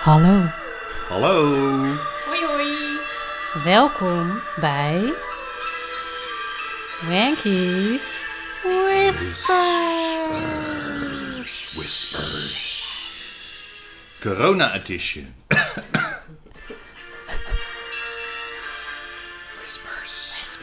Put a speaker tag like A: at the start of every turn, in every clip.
A: Hallo,
B: Hallo.
C: Hoi hoi.
A: welkom bij Wankies
B: Whispers. Corona edition. Whispers.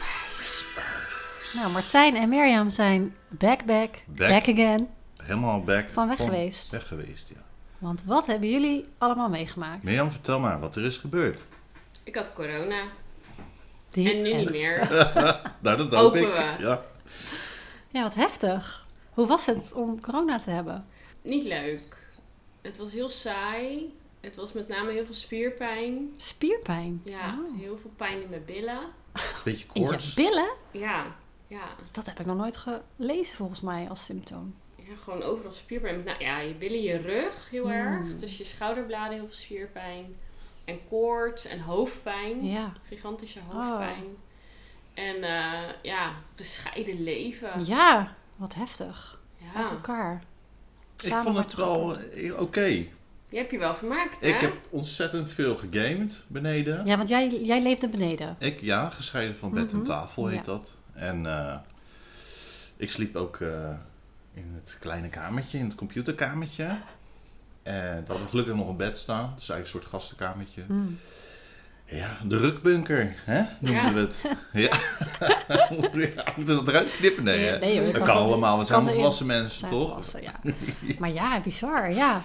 A: Nou, Martijn en Mirjam zijn back, back, back,
B: Back.
A: again.
B: Helemaal back.
A: Van weg
B: Van
A: geweest.
B: Weg geweest, ja.
A: Want wat hebben jullie allemaal meegemaakt?
B: Mirjam, vertel maar wat er is gebeurd.
C: Ik had corona.
A: Die
C: En nu niet
A: echt.
C: meer.
B: Nou, dat hoop
C: Hopen
B: ik.
C: we.
B: Ja.
A: Ja, wat heftig. Hoe was het om corona te hebben?
C: Niet leuk. Het was heel saai. Het was met name heel veel spierpijn.
A: Spierpijn.
C: Ja,
A: Oh.
C: heel veel pijn in mijn billen.
B: Beetje
A: In je
B: koorts.
A: billen?
C: Ja, ja.
A: Dat heb ik nog nooit gelezen volgens mij als symptoom.
C: ja gewoon overal spierpijn. Nou ja, je billen, je rug heel
A: Hmm.
C: erg. Dus je schouderbladen heel veel spierpijn. En koorts en hoofdpijn.
A: Ja. Oh.
C: Gigantische hoofdpijn. En eh, ja, gescheiden leven.
A: Ja, wat heftig. Uit
C: Ja.
A: elkaar.
B: Ik vond het wel eh, oké.
C: Je hebt je wel vermaakt, hè?
B: Ik heb ontzettend veel gegamed beneden.
A: Ja, want jij, jij leefde beneden.
B: Ik, ja, gescheiden van bed en tafel heet
A: Mhm. Ja.
B: dat. En eh, ik sliep ook eh, in het kleine kamertje, in het computerkamertje. En daar hadden we gelukkig nog een bed staan. Dus eigenlijk een soort gastenkamertje.
A: Hmm.
B: Ja, de rukbunker, hè, noemden
C: Ja.
B: we het. Ja. ja, moeten we dat eruit knippen? Nee,
A: Nee,
B: hè?
A: nee, hoor,
B: dat
A: kan
B: kan,
A: wel.
B: allemaal. We zijn
A: Kan
B: allemaal
A: erin.
B: volwassen mensen,
A: Zijn
B: toch?
A: volwassen, ja. Maar eh, ja, bizar, ja.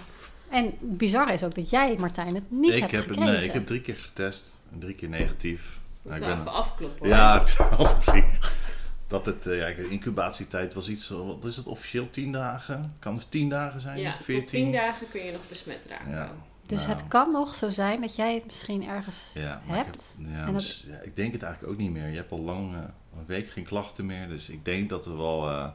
A: En bizar is ook dat jij, Martijn, het niet
B: Ik
A: hebt
B: heb,
A: gekregen.
B: nee, ik heb drie keer getest en drie keer negatief. Nou,
C: Moeten
B: ik
C: we
B: ben-
C: even afkloppen. hoor.
B: Ja, als misschien. Dat het, eh, ja, de incubatietijd was iets, eh, wat is het officieel, 10 dagen? Kan het 10 dagen zijn?
C: Ja,
B: 14?
C: tot 10 dagen kun je nog besmet raken.
B: Ja.
A: Dus
B: Nou,
A: het kan nog zo zijn dat jij het misschien ergens
B: ja, maar ik
A: hebt.
B: heb- ja,
A: en dat-
B: mis- ja, ik denk het eigenlijk ook niet meer. Je hebt al lang, eh, een week geen klachten meer. Dus ik denk dat we wel... eh,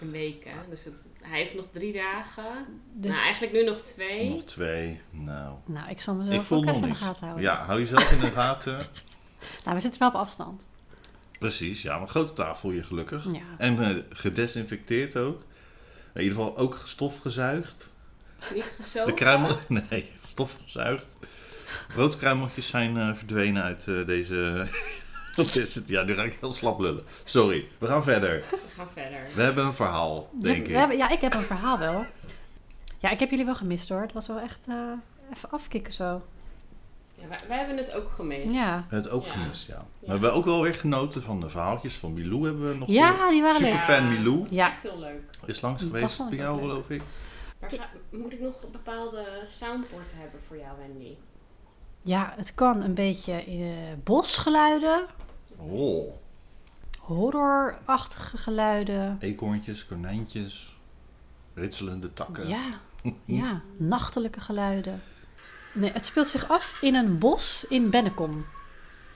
C: Een week,
B: Ah.
C: hè. Dus het, hij heeft nog drie dagen.
A: Dus,
C: Nou, eigenlijk nu nog twee.
B: nog twee, nou...
A: nou, ik zal
B: Ik
A: mezelf
B: voel
A: ook even
B: nog
A: in de
B: niks.
A: gaten houden.
B: Ja, hou jezelf in de gaten.
A: Nou, we zitten wel op afstand.
B: Precies, ja, maar een grote tafel hier gelukkig.
A: Ja.
B: En eh, gedesinfecteerd ook. In ieder geval ook stof gezuigd.
C: Niet gezogen.
B: De kruimel? Nee, het stof gezuigd. Broodkruimeltjes zijn eh, verdwenen uit eh, deze... Wat is het? Ja, nu ga ik heel slap lullen. Sorry, we gaan verder.
C: We gaan verder.
B: We hebben een verhaal,
A: Ja,
B: denk
A: we
B: ik.
A: hebben- ja, ik heb een verhaal wel. Ja, ik heb jullie wel gemist hoor. Het was wel echt eh, even afkicken zo.
C: Ja, wij, wij hebben het ook gemist.
A: Ja.
B: Het ook
C: Ja.
B: gemist, ja.
C: Ja.
B: We hebben ook wel weer genoten van de verhaaltjes van Milou. Hebben we nog
A: Ja, die waren leuk.
B: Superfan Milou
A: Ja.
C: Echt heel leuk.
B: is langs
A: Dat
B: geweest
A: vond ik
B: bij
A: ook
B: jou,
A: leuk.
B: geloof ik.
C: Maar ga- moet ik nog bepaalde soundboards hebben voor jou, Wendy?
A: ja, het kan een beetje eh, bosgeluiden,
B: Oh,
A: horrorachtige geluiden.
B: eekhoorntjes, konijntjes, ritselende takken.
A: Ja, ja, nachtelijke geluiden. Nee, het speelt zich af in een bos in Bennekom.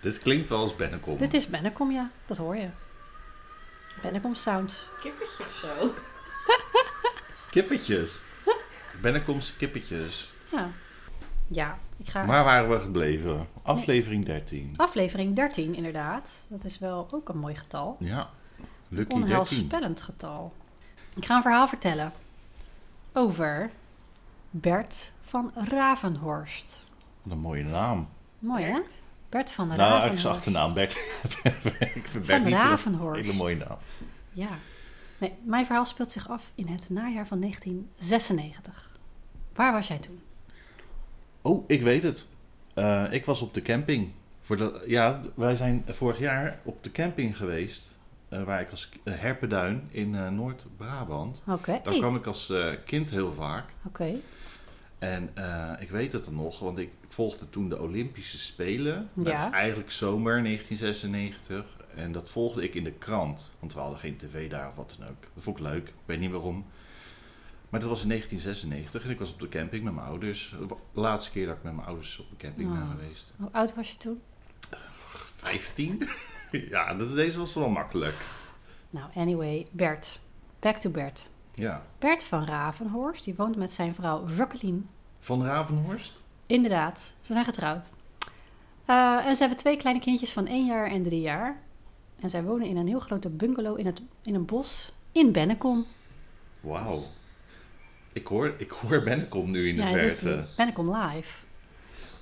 B: Dit klinkt wel als Bennekom.
A: Dit is Bennekom, ja, dat hoor je. Bennekom Sounds.
C: Kippertje of zo?
B: Kippetjes. Bennekoms kippetjes.
A: Ja, ja ik ga.
B: Maar waar waren we gebleven? Aflevering 13.
A: Aflevering 13, inderdaad. Dat is wel ook een mooi getal.
B: Ja, Lucky 13.
A: Onheilspellend getal. Ik ga een verhaal vertellen over Bert van Ravenhorst.
B: Wat een mooie naam.
A: Mooi, hè?
C: Echt?
A: Bert van
B: Nou, eigenlijk is
A: Ravenhorst.
B: zijn achternaam Bert. ik vind Bert
A: Van
B: niet zo'n
A: Ravenhorst.
B: hele mooie naam.
A: Ja. Nee, mijn verhaal speelt zich af in het najaar van 1996. Waar was jij toen?
B: Oh, ik weet het. Eh, ik was op de camping. Voor de, ja, wij zijn vorig jaar op de camping geweest. eh, waar ik als eh, herpenduin in eh, Noord-Brabant.
A: Oké.
B: Daar kwam ik als eh, kind heel vaak.
A: Oké.
B: En eh, ik weet het dan nog, want ik volgde toen de Olympische Spelen. Dat
A: Ja.
B: is eigenlijk zomer 1996. En dat volgde ik in de krant. Want we hadden geen tv daar of wat dan ook. Dat vond ik leuk. Ik weet niet waarom. Maar dat was in 1996 en ik was op de camping met mijn ouders. De laatste keer dat ik met mijn ouders op de camping
A: Oh.
B: ben geweest.
A: Hoe oud was je toen?
B: 15? ja, dat, deze was wel makkelijk.
A: Nou, anyway, Bert. Back to Bert.
B: Ja.
A: Bert van Ravenhorst, die woont met zijn vrouw Jacqueline.
B: Van Ravenhorst?
A: Inderdaad, ze zijn getrouwd. Eh, en ze hebben twee kleine kindjes van één jaar en drie jaar. En zij wonen in een heel grote bungalow in, het, in een bos in Bennekom.
B: Wauw. Ik hoor, ik hoor Bennekom nu in de
A: ja, dit is
B: verte.
A: Bennekom Live.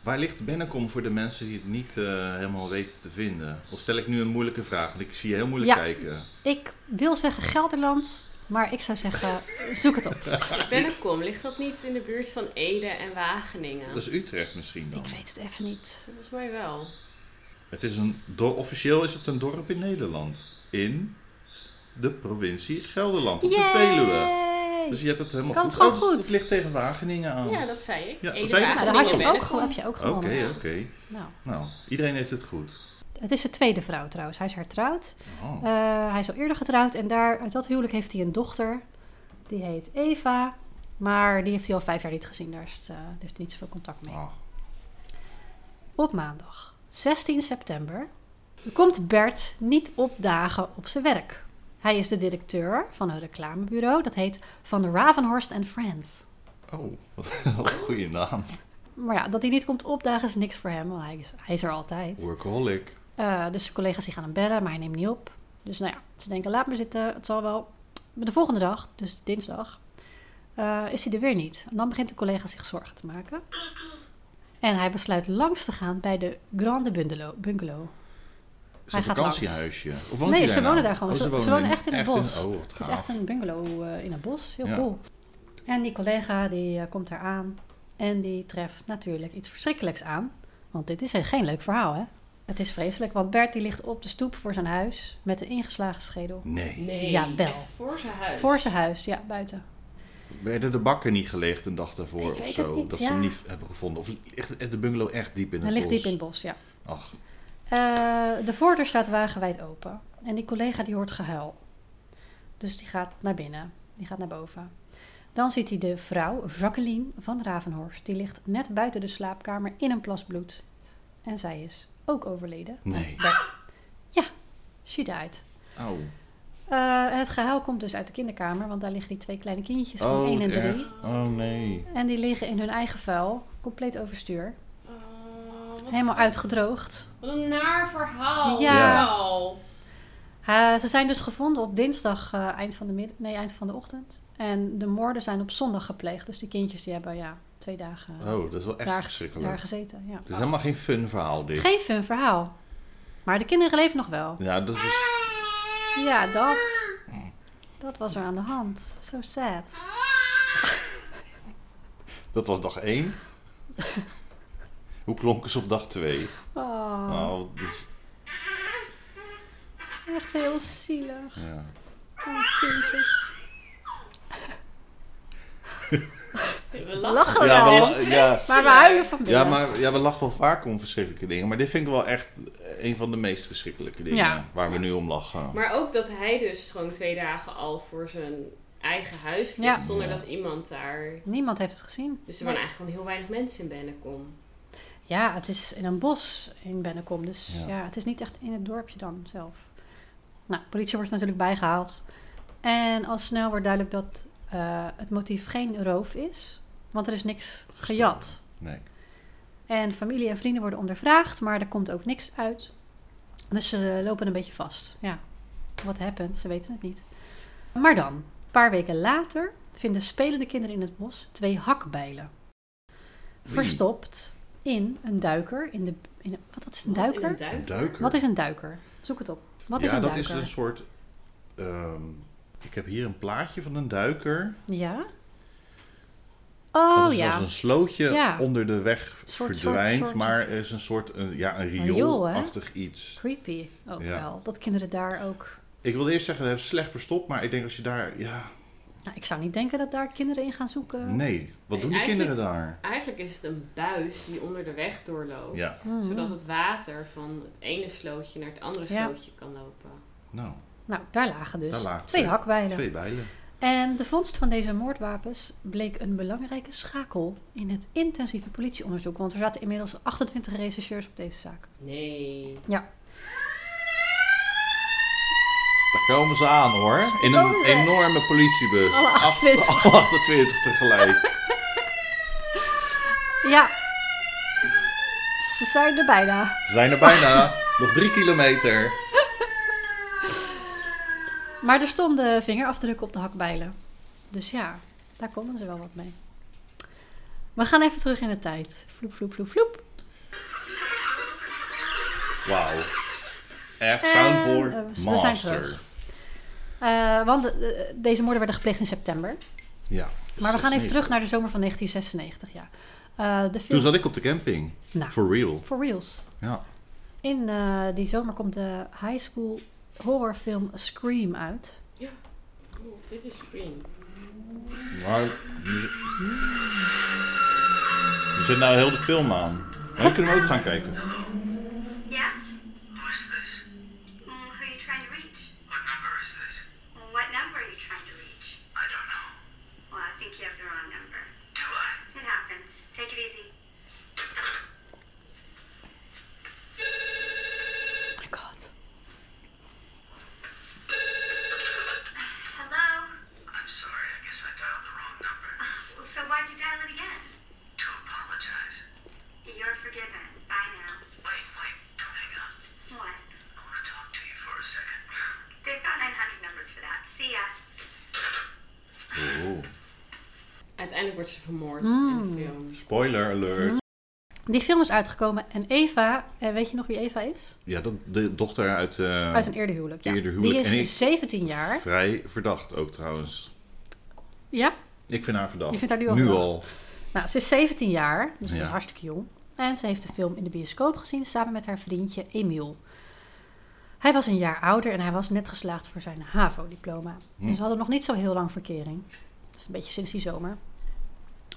B: Waar ligt Bennekom voor de mensen die het niet eh, helemaal weten te vinden? Of stel ik nu een moeilijke vraag, want ik zie je heel moeilijk
A: Ja.
B: kijken.
A: Ik wil zeggen Gelderland, maar ik zou zeggen zoek het op.
C: Bennekom, ligt dat niet in de buurt van Ede en Wageningen?
B: Dat is Utrecht misschien dan.
A: Ik weet het even niet.
C: Volgens mij wel.
B: Het is een dorp, officieel is het een dorp in Nederland. In de provincie Gelderland, op de Veluwe.
A: Yay!
B: Dus je hebt het helemaal
A: Kan het
B: goed.
A: gewoon
B: Oh, dus
A: goed.
B: Het ligt tegen Wageningen aan.
C: Ja, dat zei ik.
B: Oh. Ja,
C: Ede,
B: zei je dat?
A: Nou,
C: Wageningen,
A: dan had je hem ook,
C: Bennekom.
A: gewoon- heb je ook
B: Oké,
A: gewonnen. ja.
B: oké.
A: Nou,
B: Nou, iedereen heeft het goed.
A: het is zijn tweede vrouw trouwens. Hij is hertrouwd.
B: Oh.
A: Eh, hij is al eerder getrouwd en daar, uit dat huwelijk heeft hij een dochter. Die heet Eva. Maar die heeft hij al vijf jaar niet gezien. Daar is, eh, heeft hij niet zoveel contact mee.
B: Ah.
A: Op maandag, 16 september, komt Bert niet opdagen op zijn werk. Hij is de directeur van een reclamebureau dat heet Van Ravenhorst and Friends.
B: Oh, wat een goede naam.
A: Maar ja, dat hij niet komt opdagen is niks voor hem, want hij is, hij is er altijd.
B: Workaholic.
A: Eh, dus zijn collega's die gaan hem bellen, maar hij neemt niet op. Dus nou ja, ze denken, laat maar zitten, het zal wel. Maar de volgende dag, dus dinsdag, eh, is hij er weer niet. En dan begint de collega zich zorgen te maken. En hij besluit langs te gaan bij de Grande Bungalow. bungalow.
B: Is een
A: Hij gaat
B: vakantiehuisje? Of woont
A: Nee,
B: hij
A: ze
B: nou?
A: wonen daar gewoon.
B: Oh,
A: Ze- ze wonen echt in het bos.
B: oh, wat
A: Het is
B: gaaf.
A: echt een bungalow eh, in het bos. Heel
B: Ja.
A: cool. En die collega die eh, komt daar aan. En die treft natuurlijk iets verschrikkelijks aan. Want dit is een- geen leuk verhaal, hè? Het is vreselijk, want Bert die ligt op de stoep voor zijn huis met een ingeslagen schedel.
B: Nee.
C: Nee,
A: Ja, wel.
C: echt voor zijn huis.
A: Voor zijn huis, ja, buiten.
B: Werden de bakken niet gelegd een dag
A: Ik
B: daarvoor of
A: weet
B: zo?
A: het niet,
B: dat
A: ja.
B: ze hem niet hebben gevonden. Of ligt de bungalow echt diep in het
A: Hij ligt
B: bos?
A: diep in het bos, ja.
B: Ach,
A: Eh, de voordeur staat wagenwijd open. En die collega die hoort gehuil. Dus die gaat naar binnen. Die gaat naar boven. Dan ziet hij de vrouw, Jacqueline van Ravenhorst. Die ligt net buiten de slaapkamer in een plas bloed. En zij is ook overleden.
B: nee.
A: She died.
B: Au.
A: Eh, en het gehuil komt dus uit de kinderkamer. Want daar liggen die twee kleine kindjes van
B: Oh,
A: 1 en
B: wat
A: 3.
B: erg. Oh, nee.
A: En die liggen in hun eigen vuil. Compleet overstuur.
C: Oh, wat-
A: Helemaal uitgedroogd.
C: Wat een naar verhaal.
A: Ja.
C: Wauw.
A: Eh, ze zijn dus gevonden op dinsdag eh, eind, van de mid- nee, eind van de ochtend. En de moorden zijn op zondag gepleegd. Dus die kindjes die hebben ja, twee dagen
B: Oh, dat is wel echt
A: daar,
B: verschrikkelijk. Dus
A: daar gezeten. Ja.
B: Het is helemaal geen fun verhaal dit.
A: Geen fun verhaal. Maar de kinderen leven nog wel.
B: Ja, dat is...
A: Ja, dat, dat was er aan de hand. So sad.
B: Dat was dag 1. Hoe klonken ze op dag 2?
A: Oh,
B: Nou, dat is-
A: Echt heel zielig.
B: ja.
A: Oh, kindjes.
C: We
A: We
C: lachen.
A: lachen
B: Ja,
A: wel.
B: we la- ja.
A: Maar we huilen van binnen.
B: Ja, maar ja, we lachen wel vaak om verschrikkelijke dingen. Maar dit vind ik wel echt eh, een van de meest verschrikkelijke dingen
A: Ja.
B: waar we nu om lachen.
C: Maar ook dat hij dus gewoon twee dagen al voor zijn eigen huis ligt.
A: Ja.
C: Zonder
B: Ja.
C: dat iemand daar...
A: Niemand heeft het gezien.
C: Dus er
A: Nee.
C: waren eigenlijk gewoon heel weinig mensen in Bennekom.
A: Ja, het is in een bos in Bennekom. Dus ja.
B: Ja.
A: het is niet echt in het dorpje dan zelf. Nou, de politie wordt natuurlijk bijgehaald. En al snel wordt duidelijk dat eh, het motief geen roof is. Want er is niks gejat.
B: Nee.
A: En familie en vrienden worden ondervraagd, maar er komt ook niks uit. Dus ze lopen een beetje vast. Ja, what happened? Ze weten het niet. Maar dan, een paar weken later, vinden spelende kinderen in het bos twee hakbijlen.
B: Oei.
A: Verstopt in een duiker. In de, in een- wat, wat is een
C: Wat, in
A: duiker?
C: een
B: Een
C: duik?
B: duiker.
A: Wat is een duiker? Zoek het op. Wat
B: ja,
A: is een
B: dat
A: duiker?
B: is een soort. ehm, ik heb hier een plaatje van een duiker.
A: Ja?
B: dat
A: Oh
B: dus- is dus
A: ja.
B: als een slootje
A: Ja.
B: onder de weg
A: soort-
B: verdwijnt,
A: soort-
B: maar er is een soort een, ja, een
A: Riool, hè?
B: rioolachtig iets.
A: Creepy ook
B: Ja.
A: wel. Dat kinderen daar ook...
B: Ik wilde eerst zeggen, dat heb ik slecht verstopt, maar ik denk als je daar. Ja,
A: Nou, ik zou niet denken dat daar kinderen in gaan zoeken.
B: nee. Wat
C: Nee,
B: doen die
C: eigenlijk-
B: kinderen daar?
C: Eigenlijk is het een buis die onder de weg doorloopt.
B: Ja.
A: Mhm.
C: Zodat het water van het ene slootje naar het andere
A: Ja.
C: slootje kan lopen.
B: Nou,
A: Nou, daar lagen dus
B: Daar lagen
A: twee
B: twee.
A: hakbijlen.
B: twee bijlen.
A: En de vondst van deze moordwapens bleek een belangrijke schakel in het intensieve politieonderzoek. Want er zaten inmiddels 28 rechercheurs op deze zaak.
C: Nee.
B: Daar komen ze aan hoor. In
A: komen
B: een
A: ze.
B: enorme politiebus.
A: Alle
B: Acht-
A: 28.
B: alle 28 tegelijk.
A: Ja, ze zijn er bijna.
B: Ze zijn er bijna. Nog drie kilometer.
A: Maar er stonden vingerafdrukken op de hakbijlen. Dus ja, daar konden ze wel wat mee. We gaan even terug in de tijd. Vloep, vloep, vloep, vloep.
B: Wauw. Echt
A: En,
B: soundboard
A: eh, we zijn
B: master.
A: terug. Eh, want eh, deze moorden werden gepleegd in september.
B: Ja.
A: Maar we gaan even
B: 96.
A: terug naar de zomer van 1996. Ja. Eh, de
B: Toen
A: film.
B: zat ik op de camping.
A: Nou,
B: For real.
A: for reals.
B: Ja.
A: In eh, die zomer komt de high school horrorfilm Scream uit.
C: Oeh, Oh, dit is Scream.
B: Maar... Je zit nou heel de film aan. Maar dan kunnen we ook gaan kijken.
D: Yes?
E: Who is this?
D: Mm, who are you trying to reach?
E: What number is this?
D: Well, what number are you trying to reach?
E: I don't know.
D: Well, I think you have the wrong number.
E: Do I?
D: It happens. Take it easy.
A: Oh my god.
D: Hello?
E: I'm sorry. I guess I dialed the wrong number.
D: Well, so why'd you dial it again?
E: To apologize.
D: You're forgiven. Bye now.
E: Wait, wait. Don't hang up.
D: What?
E: I want to talk to you for a second.
D: They've got 900 numbers for that. See ya.
B: Oh.
C: Uiteindelijk wordt ze vermoord in
A: Mm.
C: de film.
B: Spoiler alert.
A: Die film is uitgekomen en Eva, eh, weet je nog wie Eva is?
B: Ja, dat, de dochter uit... eh,
A: Uit een eerder huwelijk. Ja.
B: Eerder huwelijk.
A: Die
B: En ik-
A: is 17 jaar.
B: Vrij verdacht ook trouwens.
A: Ja,
B: Ik vind haar verdacht.
A: Je vindt haar nu al verdacht?
B: al.
A: nou, ze is 17 jaar, dus ze
B: Ja.
A: is hartstikke jong. En ze heeft de film in de bioscoop gezien samen met haar vriendje Emiel. Hij was een jaar ouder en hij was net geslaagd voor zijn HAVO-diploma.
B: Hm.
A: Dus ze hadden nog niet zo heel lang verkering. Dat is een beetje sinds die zomer.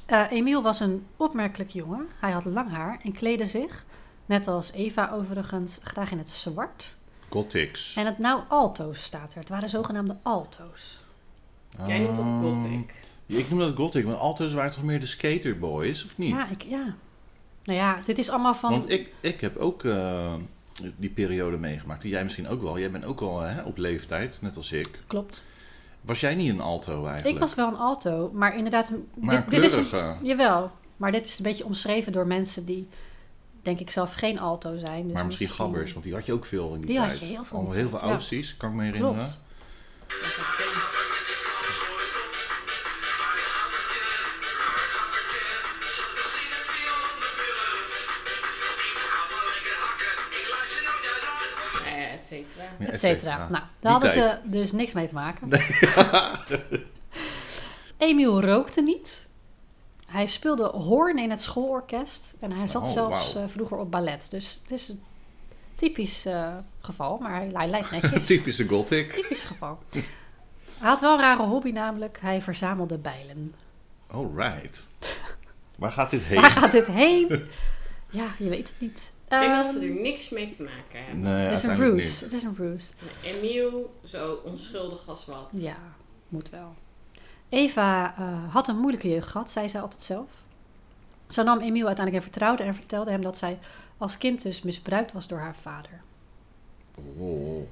A: Eh Emiel was een opmerkelijk jongen. Hij had lang haar en kleedde zich, net als Eva overigens, graag in het zwart.
B: Gothics.
A: En het nou alto's staat er. Het waren zogenaamde alto's.
C: Jij noemt dat
B: Ah.
C: gothic.
B: Ja, ik noem dat gothic, want altijd waren toch meer de skaterboys, of niet?
A: Ja, ik, ja. Nou ja, dit is allemaal van...
B: Want ik, ik heb ook eh, die periode meegemaakt. Jij misschien ook wel. Jij bent ook al hè, op leeftijd, net als ik.
A: Klopt.
B: Was jij niet een alto eigenlijk?
A: Ik was wel een alto, maar inderdaad... een-
B: Maar een
A: dit, dit is
B: kleurige.
A: een, Jawel, maar dit is een beetje omschreven door mensen die, denk ik zelf, geen alto zijn. Dus
B: maar misschien gabbers, want die had je ook veel in die,
A: Die had
B: tijd.
A: je heel veel in
B: Al
A: die
B: heel veel
A: tijd, ja.
B: auties, kan ik me herinneren.
A: Klopt.
B: eh,
C: Eh, et cetera.
B: Ja,
A: et
B: et
A: cetera.
B: cetera.
A: Nou,
B: Die
A: daar hadden
B: tijd.
A: ze dus niks mee te maken. Emiel rookte niet. Hij speelde hoorn in het schoolorkest. En hij zat
B: Oh,
A: zelfs
B: wauw.
A: eh, vroeger op ballet. Dus het is een typisch eh, geval, maar hij, hij lijkt netjes.
B: Typische gothic.
A: typisch geval. Hij had wel een rare hobby namelijk. Hij verzamelde bijlen.
B: Alright. Waar gaat dit heen?
A: Waar gaat dit heen? Ja, je weet het niet.
C: Ik denk dat
A: Ehm,
C: ze er niks mee te maken hebben.
B: Nee,
A: het is een
B: uiteindelijk
A: ruse. Het is een ruse.
C: Emiel, zo onschuldig als wat.
A: Ja, moet wel. Eva eh, had een moeilijke jeugd gehad, zei zij altijd zelf. Ze nam Emiel uiteindelijk in vertrouwde en vertelde hem dat zij als kind dus misbruikt was door haar vader.
B: niet. Oh,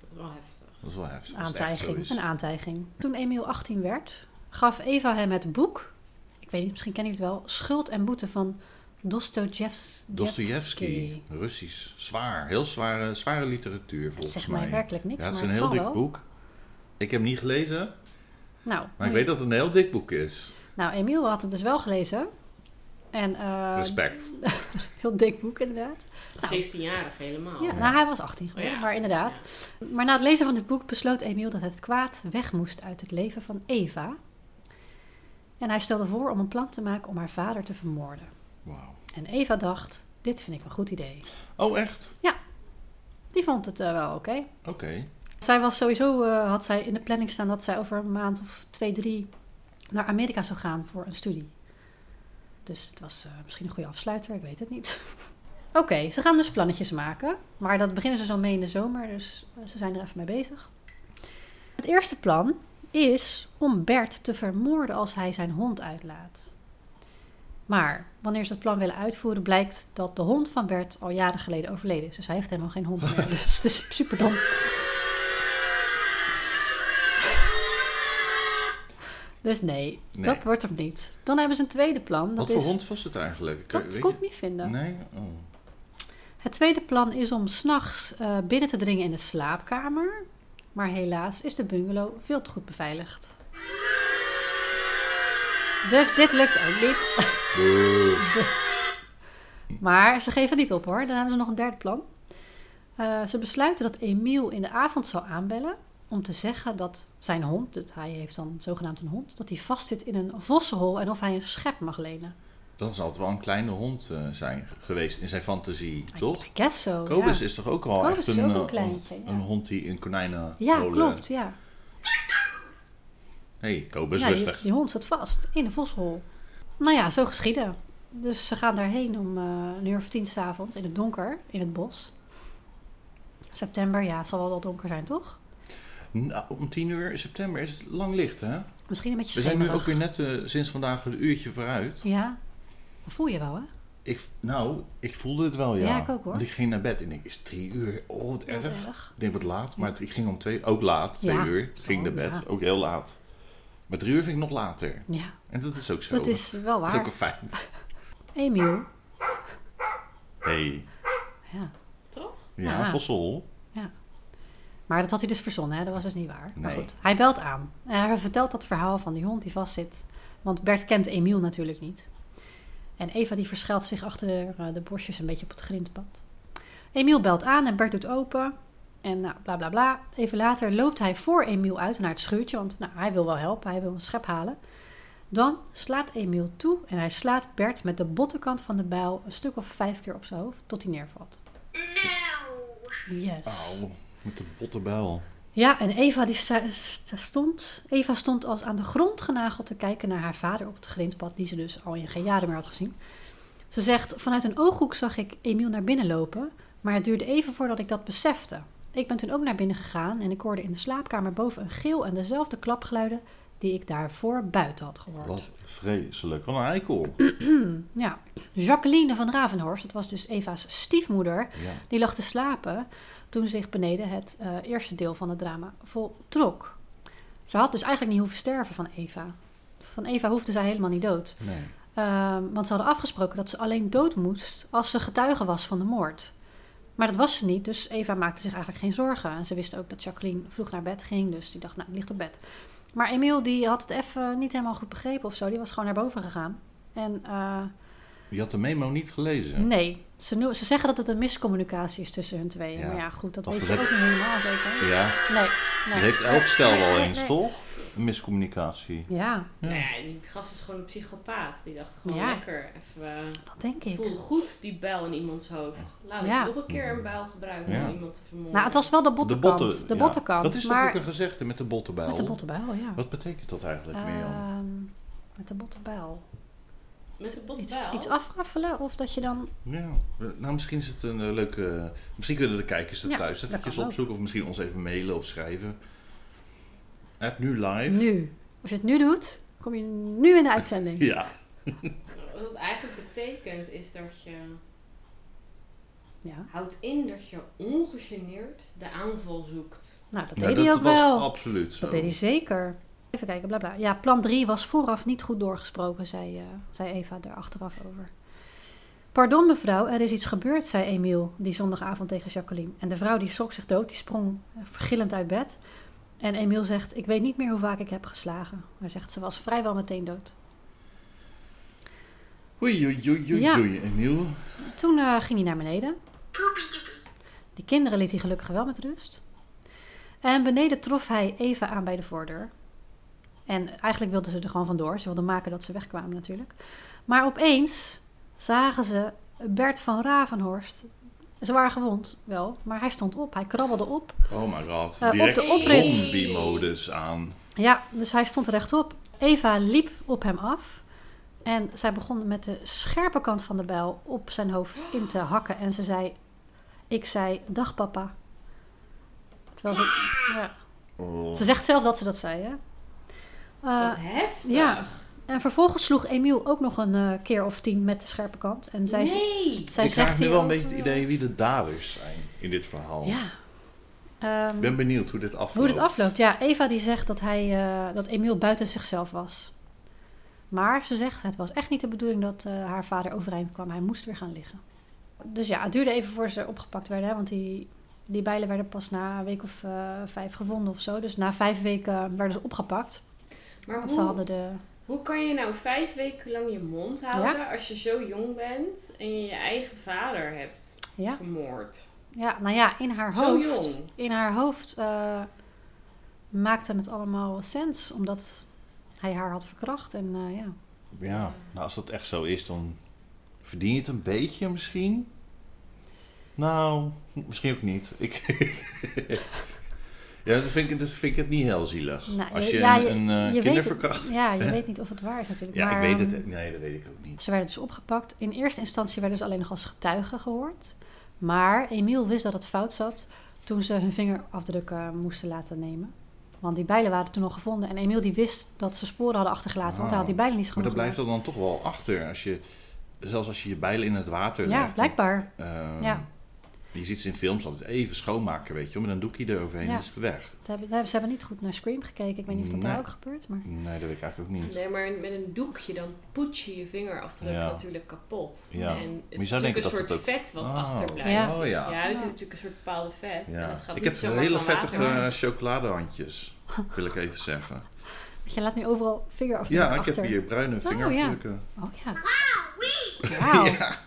C: Dat is wel heftig.
B: dat is wel heftig. als het echt zo
A: Aantijging.
B: is.
A: Een aantijging. Toen Emiel 18 werd, gaf Eva hem het boek, ik weet niet, misschien ken ik het wel, Schuld en Boete van Dostojevs-
B: Dostoevsky, Russisch. Zwaar, heel zware, zware literatuur volgens
A: zegt
B: mij.
A: mij werkelijk niks,
B: Ja, het is
A: maar
B: een
A: het
B: heel
A: zal
B: dik
A: wel.
B: boek. Ik heb hem niet gelezen, maar
A: Nou,
B: ik weet dat het een heel dik boek is.
A: nou, Emiel had het dus wel gelezen. En eh,
B: Respect.
A: heel dik boek inderdaad. Nou.
C: 17-jarig
B: Oh,
C: helemaal.
A: Ja, nou, hij was 18 geworden,
C: Oh ja.
A: maar inderdaad. Maar na het lezen van dit boek besloot Emiel dat het kwaad weg moest uit het leven van Eva. En hij stelde voor om een plan te maken om haar vader te vermoorden.
B: Wauw.
A: En Eva dacht, dit vind ik een goed idee.
B: Oh, echt?
A: Die vond het eh, wel oké.
B: Oké.
A: Zij was sowieso, eh, had zij in de planning staan dat zij over een maand of twee, drie naar Amerika zou gaan voor een studie. Dus het was eh, misschien een goede afsluiter, ik weet het niet. Oké, ze gaan dus plannetjes maken. Maar dat beginnen ze zo mee in de zomer, dus eh, ze zijn er even mee bezig. Het eerste plan is om Bert te vermoorden als hij zijn hond uitlaat. Maar wanneer ze het plan willen uitvoeren, blijkt dat de hond van Bert al jaren geleden overleden is. Dus hij heeft helemaal geen hond meer. Dus het is super dom. Dus nee,
B: Nee.
A: dat wordt hem niet. Dan hebben ze een tweede plan. Dat
B: Wat voor
A: is,
B: hond was het eigenlijk? Ik- weet
A: Dat
B: je-
A: kon ik niet vinden.
B: Nee? Oh.
A: Het tweede plan is om s'nachts eh binnen te dringen in de slaapkamer. Maar helaas is de bungalow veel te goed beveiligd. Dus dit lukt ook niet.
B: Boe.
A: Maar ze geven niet op hoor. Dan hebben ze nog een derde plan. Eh, ze besluiten dat Emiel in de avond zal aanbellen om te zeggen dat zijn hond, dat hij heeft dan zogenaamd een hond, dat hij vastzit in een vossenhol en of hij een schep mag lenen.
B: Dan zal het wel een kleine hond eh, zijn ge- geweest in zijn fantasie, toch?
A: I guess so,
B: Kobus
A: ja.
B: is toch ook al
A: Kobus
B: echt
A: is
B: een,
A: ook een
B: eh,
A: kleintje, ja.
B: een hond die in konijnen
A: Ja,
B: rollen.
A: klopt, ja.
B: hey, Kobus,
A: ja, die,
B: rustig.
A: die hond zit vast in een voshol. Nou ja, zo geschieden. Dus ze gaan daarheen om eh, een uur of tien s'avonds in het donker, in het bos. September, ja, zal wel wat donker zijn, toch?
B: Nou, om tien uur in september is het lang licht, hè?
A: Misschien een beetje
B: We zijn nu ook
A: schemerig.
B: weer net eh, sinds vandaag een uurtje vooruit.
A: Ja, dat voel je wel, hè?
B: Ik, nou, ik voelde het wel, ja.
A: Ja, ik ook, hoor.
B: Want ik ging naar bed en ik is drie uur. Oh, wat
A: Heel
B: erg. Ik denk wat laat, maar het- ik ging om twee, ook laat, twee
A: Ja,
B: uur. Ik
A: zo,
B: ging naar bed,
A: ja.
B: ook heel laat. Maar drie uur vind ik nog later.
A: Ja,
B: En dat is ook zo.
A: dat is wel
B: Dat is ook een
A: waar.
B: feit.
A: Emiel.
B: Hey.
A: Ja.
C: Toch?
B: Ja,
A: Ja.
B: Vossel.
A: Maar dat had hij dus verzonnen, hè? dat was dus niet waar. Maar
B: Nee.
A: goed, hij belt aan. En hij vertelt dat verhaal van die hond die vastzit. Want Bert kent Emiel natuurlijk niet. En Eva die verschuilt zich achter de, eh, de bosjes een beetje op het grindpad. Emiel belt aan en Bert doet open. En nou, bla bla bla. Even later loopt hij voor Emiel uit naar het schuurtje. Want nou, hij wil wel helpen, hij wil een schep halen. Dan slaat Emiel toe en hij slaat Bert met de bottenkant van de bijl een stuk of vijf keer op zijn hoofd tot hij neervalt.
D: No.
A: Yes.
B: Auw, met de botte bel.
A: Ja, en Eva, die sta- sta- stond, Eva stond als aan de grond genageld te kijken naar haar vader op het grindpad, die ze dus al in geen jaren meer had gezien. Ze zegt, vanuit een ooghoek zag ik Emiel naar binnen lopen, maar het duurde even voordat ik dat besefte. Ik ben toen ook naar binnen gegaan en ik hoorde in de slaapkamer boven een geel en dezelfde klapgeluiden die ik daarvoor buiten had gehoord.
B: Wat vreselijk. Wat een eikel.
A: Ja, Jacqueline van Ravenhorst, dat was dus Eva's stiefmoeder,
B: Ja.
A: die lag te slapen toen zich beneden het eh, eerste deel van het drama voltrok. Ze had dus eigenlijk niet hoeven sterven van Eva. Van Eva hoefde zij helemaal niet dood.
B: Nee.
A: Ehm, want ze hadden afgesproken dat ze alleen dood moest als ze getuige was van de moord. Maar dat was ze niet, dus Eva maakte zich eigenlijk geen zorgen. En ze wist ook dat Jacqueline vroeg naar bed ging, dus die dacht, nou, die ligt op bed. Maar Emiel, die had het even niet helemaal goed begrepen of zo. Die was gewoon naar boven gegaan. En eh,
B: Je had de memo niet gelezen.
A: Nee, ze, no- ze zeggen dat het een miscommunicatie is tussen hun tweeën.
B: Ja.
A: Maar ja, goed, dat
B: Dat
A: weet je
B: heb-
A: ook niet helemaal zeker.
B: Ja,
A: Nee,
B: dat
A: nee.
B: heeft elk stel
A: Nee,
B: wel
A: nee,
B: eens,
A: nee.
B: toch? Een miscommunicatie.
A: Ja,
B: Ja.
C: Nou ja, die gast is gewoon een psychopaat. Die dacht gewoon
A: Ja.
C: lekker even... eh,
A: dat denk ik.
C: voelde goed die bijl in iemands hoofd. Laat
A: Ja.
C: ik nog een keer een bijl gebruiken
B: Ja.
C: om iemand te vermoorden.
A: Nou, het was wel de
B: De
A: bottenkant. De,
B: botten. ja.
A: bottenkant.
B: Dat is toch
A: maar
B: ook een gezegde met de bottenbijl?
A: met de bottenbijl, ja.
B: Wat betekent dat eigenlijk, Mirjam?
A: Ehm, met de bottenbijl.
C: Met de
A: Iets,
C: bottenbijl?
A: iets afraffelen of dat je dan...
B: Ja, nou misschien is het een eh, leuke... Misschien kunnen de kijkers er
A: Ja,
B: thuis
A: dat
B: eventjes
A: kan ook.
B: opzoeken. Of misschien ons even mailen of schrijven. At nu live.
A: Nu. Als je het nu doet, kom je nu in de uitzending.
B: Ja.
C: Nou, Wat het eigenlijk betekent is dat je...
A: Ja.
C: Houdt in dat je ongegeneerd de aanval zoekt.
A: Nou, dat
B: Nou,
A: deed hij ook
B: was
A: wel.
B: absoluut zo.
A: Dat deed hij zeker. Even kijken, bla bla. Ja, plan 3 was vooraf niet goed doorgesproken, zei, eh, zei Eva er achteraf over. Pardon mevrouw, er is iets gebeurd, zei Emiel die zondagavond tegen Jacqueline. En de vrouw die schrok zich dood, die sprong eh, vergillend uit bed. En Emiel zegt, ik weet niet meer hoe vaak ik heb geslagen. Hij zegt, ze was vrijwel meteen dood.
B: Oei, oei, oei, oei,
A: Ja.
B: oei, Emiel.
A: Toen eh, ging hij naar beneden.
D: Poopy doopy.
A: De kinderen liet hij gelukkig wel met rust. En beneden trof hij Eva aan bij de voordeur. En eigenlijk wilden ze er gewoon vandoor. Ze wilden maken dat ze wegkwamen natuurlijk. Maar opeens zagen ze Bert van Ravenhorst. Zwaar gewond wel, maar hij stond op. Hij krabbelde op.
B: Oh my god.
A: Eh, op
B: Direct
A: de oprit.
B: zombie-modus aan.
A: Ja, dus hij stond rechtop. Eva liep op hem af. En zij begon met de scherpe kant van de bijl op zijn hoofd in te hakken. En ze zei, ik zei, dag papa. Terwijl ze... Ja.
B: Oh.
A: Ze zegt zelf dat ze dat zei, hè? Eh,
C: Wat heftig.
A: ja. en vervolgens sloeg Emiel ook nog een eh, keer of tien met de scherpe kant. En zij,
C: nee.
A: zij zegt
B: ik krijg nu wel een
A: hierover-
B: beetje het idee wie de daders zijn in dit verhaal.
A: Ja. Ehm,
B: Ik ben benieuwd hoe dit afloopt.
A: hoe dit afloopt. Ja, Eva die zegt dat, hij, eh, dat Emiel buiten zichzelf was. Maar ze zegt, het was echt niet de bedoeling dat eh, haar vader overeind kwam. Hij moest weer gaan liggen. Dus ja, het duurde even voor ze opgepakt werden. Hè, want die, die bijlen werden pas na een week of eh, vijf gevonden of zo. Dus na vijf weken werden ze opgepakt.
C: Maar
A: Want ze
C: hoe,
A: hadden de...
C: hoe kan je nou vijf weken lang je mond houden als je zo jong bent en je je eigen vader hebt
A: Ja.
C: vermoord?
A: Ja, nou ja, in haar
C: Zo
A: hoofd.
C: jong.
A: In haar hoofd eh, maakte het allemaal sens, omdat hij haar had verkracht. En eh, ja,
B: Ja, nou als dat echt zo is, dan verdien je het een beetje misschien. Nou, misschien ook niet. Ik... ja, dat vind, ik, dat vind ik het niet heel zielig.
A: Nou,
B: als
A: je-
B: je,
A: ja,
B: een,
A: je-
B: een eh,
A: je weet
B: kinder
A: het-
B: verkracht.
A: ja je weet niet of het waar is natuurlijk.
B: Ja,
A: maar,
B: ik weet
A: ehm,
B: het. Nee, dat weet ik ook niet.
A: Ze werden dus opgepakt. In eerste instantie werden ze alleen nog als getuigen gehoord. Maar Emiel wist dat het fout zat toen ze hun vingerafdrukken eh, moesten laten nemen. Want die bijlen waren toen al gevonden. En Emiel die wist dat ze sporen hadden achtergelaten, want hij had die bijlen niet
B: Maar
A: schoon
B: dat blijft er dan toch wel achter. Als je, zelfs als je je bijlen in het water
A: Ja,
B: legt.
A: blijkbaar.
B: eh, Ehm,
A: Ja.
B: Je ziet ze in films altijd even schoonmaken, weet je wel. Met een doekje eroverheen
A: Ja.
B: is het weg.
A: Ze hebben, ze hebben niet goed naar Scream gekeken. Ik weet niet of dat daar
B: Nee.
A: ook gebeurt, maar...
B: Nee, dat weet ik eigenlijk ook niet.
C: Nee, maar met een doekje dan poets je je vingerafdruk
B: Ja.
C: natuurlijk kapot.
B: Ja. Maar
C: En
B: je
C: het
B: zou
C: is natuurlijk
B: denken
C: een
B: dat
C: soort
B: het ook-
C: vet wat
B: Oh.
C: achterblijft.
B: Ja. Oh, ja.
C: Je huid heeft
A: Ja.
C: natuurlijk een soort bepaalde vet. En
B: Ja.
C: dat gaat
B: Ik
C: niet
B: heb
C: zomaar
B: hele
C: van water
B: vettige
C: af.
B: chocoladehandjes, wil ik even zeggen.
A: Want Je laat nu overal vingerafdrukken
B: Ja, ik
A: achter.
B: heb hier bruine vingerafdrukken.
A: Oh ja,
D: Wauw,
A: wauw.
B: Ja.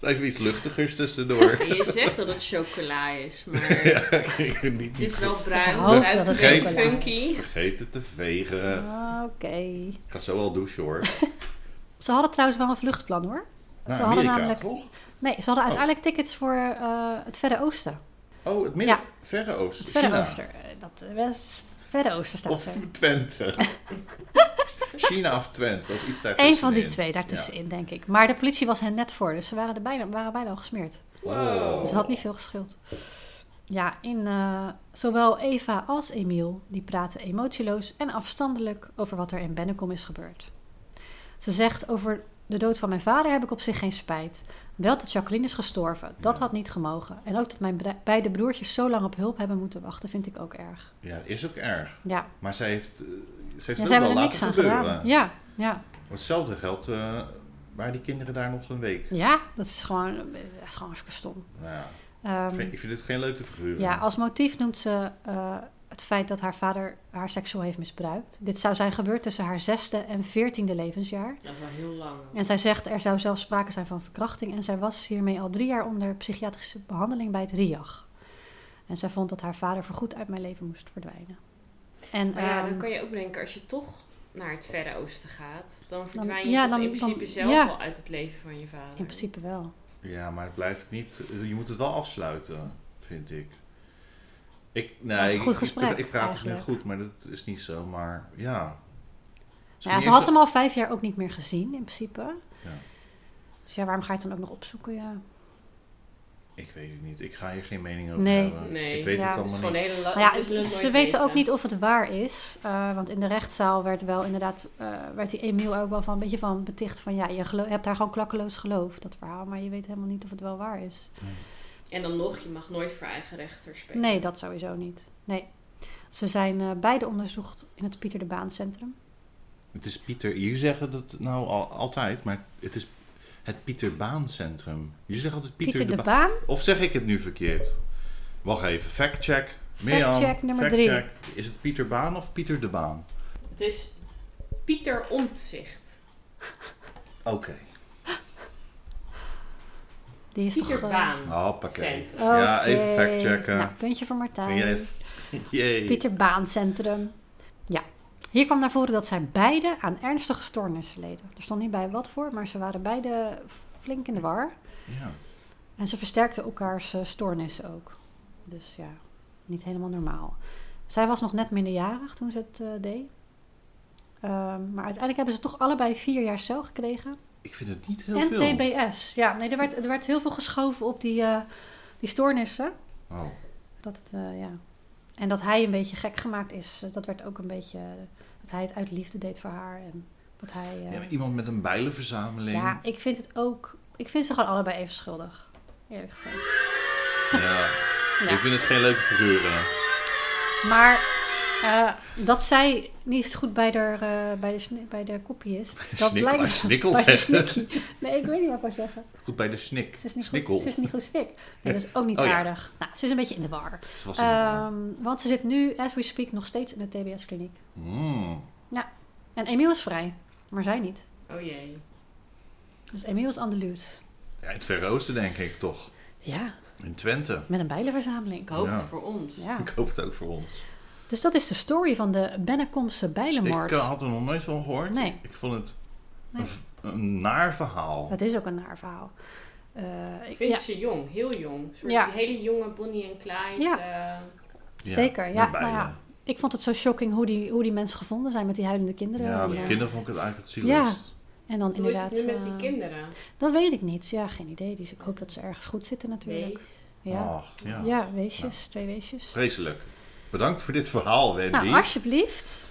B: Even iets luchtigers tussendoor.
C: En je zegt dat het chocola is, maar
B: ja, ik weet niet.
C: het is wel
A: Ik
C: bruin,
A: hoop dat
C: het ruikt een
A: het
C: beetje
B: chocola is.
C: funky.
B: Vergeet het te vegen.
A: Ah, Oké.
B: Ik ga zo wel douchen hoor.
A: Ze hadden trouwens wel een vluchtplan, hoor.
B: Naar
A: ze hadden
B: Amerika,
A: namelijk...
B: toch?
A: Nee, ze hadden uiteindelijk tickets voor eh, het Verre Oosten.
B: Oh, het midden...
A: Ja.
B: Verre Oosten.
A: Het Verre
B: China.
A: Oosten. Eh, Dat eh, West- Verre Oosten staat
B: Of
A: er.
B: Twente. China of Twente, of iets daartussenin.
A: Eén van die twee daartussenin, denk ik. Maar de politie was hen net voor, dus ze waren, er bijna, waren bijna al gesmeerd.
B: Wow.
A: Dus het had niet veel geschild. Ja, in, eh, zowel Eva als Emiel die praten emotieloos en afstandelijk over wat er in Bennekom is gebeurd. Ze zegt over de dood van mijn vader heb ik op zich geen spijt. Wel dat Jacqueline is gestorven, dat
B: Ja.
A: had niet gemogen. En ook dat mijn bre- beide broertjes zo lang op hulp hebben moeten wachten, vind ik ook erg.
B: Ja, is ook erg.
A: Ja,
B: Maar zij heeft, eh, ze heeft
A: ja
B: het
A: ze
B: ook
A: hebben
B: wel
A: er niks
B: laten
A: aan
B: gebeuren.
A: gedaan. Ja, ja.
B: Hetzelfde geldt, eh waren die kinderen daar nog een week?
A: Ja, dat is gewoon, eh, dat is gewoon hartstikke stom.
B: Nou ja,
A: Ehm,
B: geen- ik vind het geen leuke figuur.
A: ja, als motief noemt ze eh, het feit dat haar vader haar seksueel heeft misbruikt. Dit zou zijn gebeurd tussen haar zesde en veertiende levensjaar.
C: Dat is wel heel lang.
A: En zij zegt er zou zelfs sprake zijn van verkrachting. En zij was hiermee al drie jaar onder psychiatrische behandeling bij het RIAG. En zij vond dat haar vader voorgoed uit mijn leven moest verdwijnen. En,
C: Maar ja, dan
A: ehm,
C: kan je ook denken, als je toch naar het Verre Oosten gaat, dan verdwijn je
A: ja,
C: toch
A: dan-
C: in
A: dan-
C: principe zelf
A: ja.
C: al uit het leven van je vader.
A: in principe wel.
B: Ja, maar het blijft niet. Je moet het wel afsluiten, vind ik. Ik,
A: Of een
B: nee,
A: goed
B: ik-
A: gesprek,
B: ik, ik praat het nu
A: eigenlijk.
B: goed, maar dat is niet zo. Maar ja. Ze
A: Nou ja, ze had hem al vijf jaar ook niet meer gezien, in principe. Dus ja, waarom ga je het dan ook nog opzoeken? Ja.
B: Ik weet het niet. Ik ga hier geen mening over
A: Nee.
B: hebben.
C: Nee,
B: ik weet
A: ja,
B: het
C: Het is
B: allemaal
C: gewoon
B: niet.
C: hele la-
A: Maar ja,
C: we zullen het
A: ze
C: nooit
A: weten ook niet of het waar is. eh, want in de rechtszaal werd wel inderdaad, eh, werd die Emiel ook wel van een beetje van beticht van ja, je gelo- hebt daar gewoon klakkeloos geloof, dat verhaal. Maar je weet helemaal niet of het wel waar is.
C: En dan nog, je mag nooit voor eigen rechter spelen.
A: Nee, dat sowieso niet. Nee. Ze zijn eh, beide onderzocht in het Pieter de Baan Centrum.
B: Het is Pieter. Jullie zeggen dat nou al, altijd, maar het is het Pieter Baan Centrum. Jullie zeggen altijd
A: Pieter,
B: Pieter, de,
A: de
B: Baan.
A: Baan?
B: Of zeg ik het nu verkeerd? Wacht even. Fact check.
A: check nummer drie.
B: drie. Is het Pieter Baan of Pieter de Baan?
C: Het is Pieter Omtzigt.
B: Oké.
A: Die is
C: Pieter
A: toch... eh,
C: Baan.
B: Ah. Hoppakee.
C: Centrum.
B: Ja,
A: oké.
B: even factchecken.
A: Nou, puntje voor Martijn.
B: Yes. Yay.
A: Pieter Baan Centrum. Ja. Hier kwam naar voren dat zij beide aan ernstige stoornissen leden. Er stond niet bij wat voor, maar ze waren beide flink in de war.
B: Ja.
A: En ze versterkten elkaars eh, stoornissen ook. Dus ja, niet helemaal normaal. Zij was nog net minderjarig toen ze het eh, deed. Ehm, maar uiteindelijk hebben ze toch allebei vier jaar cel gekregen.
B: Ik vind het niet heel
A: en
B: veel.
A: TBS. Ja, nee, er werd, er werd heel veel geschoven op die, eh, die stoornissen.
B: Oh.
A: Dat het, eh, ja. En dat hij een beetje gek gemaakt is. eh, Dat werd ook een beetje. eh, Dat hij het uit liefde deed voor haar. En dat hij. eh,
B: Ja, maar iemand met een bijlenverzameling.
A: ja, ik vind het ook. Ik vind ze gewoon allebei even schuldig. Eerlijk gezegd.
B: Ja. Ik vind het geen leuke figuren.
A: Maar eh, dat zij niet goed bij de, eh, bij de, sni- bij de koppie is. Dat
B: snik- bij snikkel
A: bij de
B: zeggen.
A: snikkie. Nee, ik weet niet wat ik wou zeggen.
B: Goed bij de snik.
A: Ze is niet,
B: Snikkel.
A: goed, ze is niet goed snik. Nee, dat is ook niet
B: Oh ja.
A: aardig. Nou, ze is een beetje in de war.
B: Ze was een-
A: Ehm, want ze zit nu, as we speak, nog steeds in de TBS-kliniek.
B: Mm.
A: En Emiel is vrij, maar zij niet.
C: Oh jee.
A: Dus Emiel is Andeluus.
B: Ja, in het Verre Oosten denk ik toch.
A: Ja.
B: In Twente.
A: Met een bijlenverzameling.
C: Ik hoop
B: Ja.
C: het voor ons.
A: Ja.
B: Ik hoop het ook voor ons.
A: Dus dat is de story van de Bennekomse
B: Ik
A: bijlenmoord.
B: eh, had er nog nooit van gehoord.
A: Nee.
B: Ik vond het
A: Nee.
B: een, v- een naar verhaal.
A: Dat is ook een naar verhaal. Eh,
C: Ik
A: ik-
C: vind
A: ja,
C: ze jong, heel jong. Een soort
A: Ja.
C: die hele jonge Bonnie en Clyde.
A: Ja.
C: eh,
A: zeker, ja,
B: de
A: nou ja. ik vond het zo shocking hoe die, hoe die mensen gevonden zijn met die huilende kinderen.
B: bijen. Ja,
A: en,
B: met
A: eh,
B: kinderen vond ik het eigenlijk het zieligst.
A: en dan
C: hoe is het
A: inderdaad.
C: nu met die
A: eh,
C: kinderen?
A: dat weet ik niet. Ja, geen idee. Dus ik hoop dat ze ergens goed zitten natuurlijk.
C: Wees.
A: Ja.
B: Och, Oh, ja.
A: ja. weesjes, twee weesjes.
B: Vreselijk. Bedankt voor dit verhaal, Wendy.
A: Nou, alsjeblieft.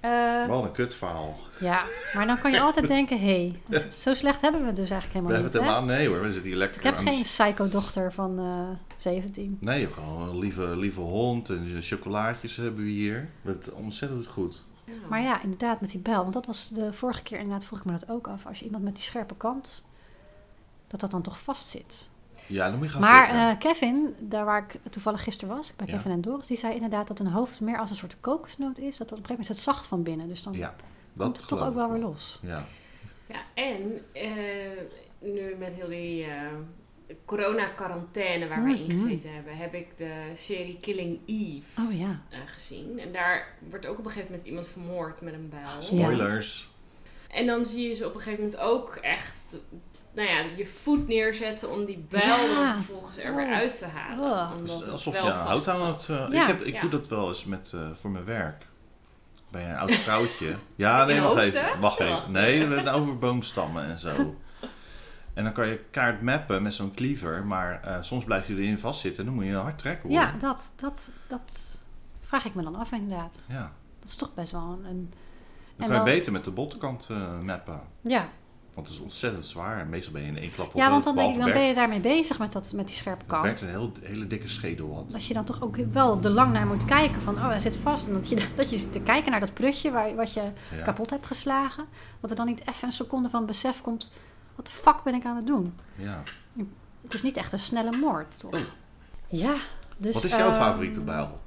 A: Eh,
B: Wat een kutverhaal.
A: ja, maar dan kan je altijd denken, hé, hey, zo slecht hebben we het dus eigenlijk
B: We
A: helemaal
B: hebben
A: niet.
B: het
A: hè?
B: helemaal... Nee hoor, we zitten hier lekker
A: Ik heb
B: aan de-
A: geen psycho-dochter van eh 17.
B: Nee, gewoon een lieve, lieve hond en chocolaatjes hebben we hier. Met ontzettend goed.
C: Ja.
A: Maar ja, inderdaad, met die bijl. Want dat was de vorige keer, inderdaad, vroeg ik me dat ook af. Als je iemand met die scherpe kant, dat dat dan toch vastzit.
B: Ja, dan moet je gaan
A: Maar
B: flikken.
A: eh, Kevin, daar waar ik toevallig gisteren was, bij
B: Ja.
A: Kevin en Doris, die zei inderdaad dat een hoofd meer als een soort kokosnoot is. Dat dat op een gegeven moment is het zacht van binnen. Dus dan
B: ja,
A: komt het
B: dat
A: toch
B: geloof
A: ook wel
B: ik
A: weer los.
B: Ja.
C: Ja, en eh, nu met heel die eh, corona-quarantaine waar we
A: Mhm.
C: ingezeten hebben, heb ik de serie Killing Eve
A: Oh ja.
C: eh, gezien. En daar wordt ook op een gegeven moment iemand vermoord met een bijl.
B: Spoilers.
C: En dan zie je ze op een gegeven moment ook echt, nou ja, je voet neerzetten om die bijl
A: Ja.
C: dan vervolgens er weer
A: Oh.
C: uit te halen.
A: Oh.
C: Omdat
B: Dus
C: het
B: Alsof je
C: wel
B: hout
C: vast
B: aan
C: zat.
B: het... eh,
A: Ja.
B: ik heb, ik
C: Ja.
B: doe dat wel eens met, eh, voor mijn werk. Bij een oud vrouwtje. ja, nee,
C: Je
B: wacht
C: hoofd,
B: even.
C: hè?
B: Wacht
C: Ja.
B: even. Nee, met- over boomstammen en zo. En dan kan je kaart mappen met zo'n cleaver, maar eh, soms blijft hij erin vastzitten en dan moet je hard trekken hoor.
A: Ja, dat, dat, dat vraag ik me dan af inderdaad.
B: Ja.
A: Dat is toch best wel een... een-
B: Dan
A: En
B: kan je
A: dan-
B: beter met de botkant eh, mappen.
A: ja.
B: Want het is ontzettend zwaar. En meestal ben je in één klap op
A: ja, want dan, denk ik, dan
B: behalve
A: ben je
B: Bert.
A: daarmee bezig met, dat, met die scherpe
B: Bert
A: kant.
B: een heel, hele dikke schedel had.
A: Dat je dan toch ook wel er lang naar moet kijken van, oh hij zit vast. En dat je, dat je zit te kijken naar dat prutje waar, wat je
B: Ja.
A: kapot hebt geslagen. Dat er dan niet even een seconde van besef komt, wat de fuck ben ik aan het doen?
B: Ja.
A: Het is niet echt een snelle moord, toch? Ja, dus...
B: Oh. Wat is jouw
A: eh,
B: favoriete bijl?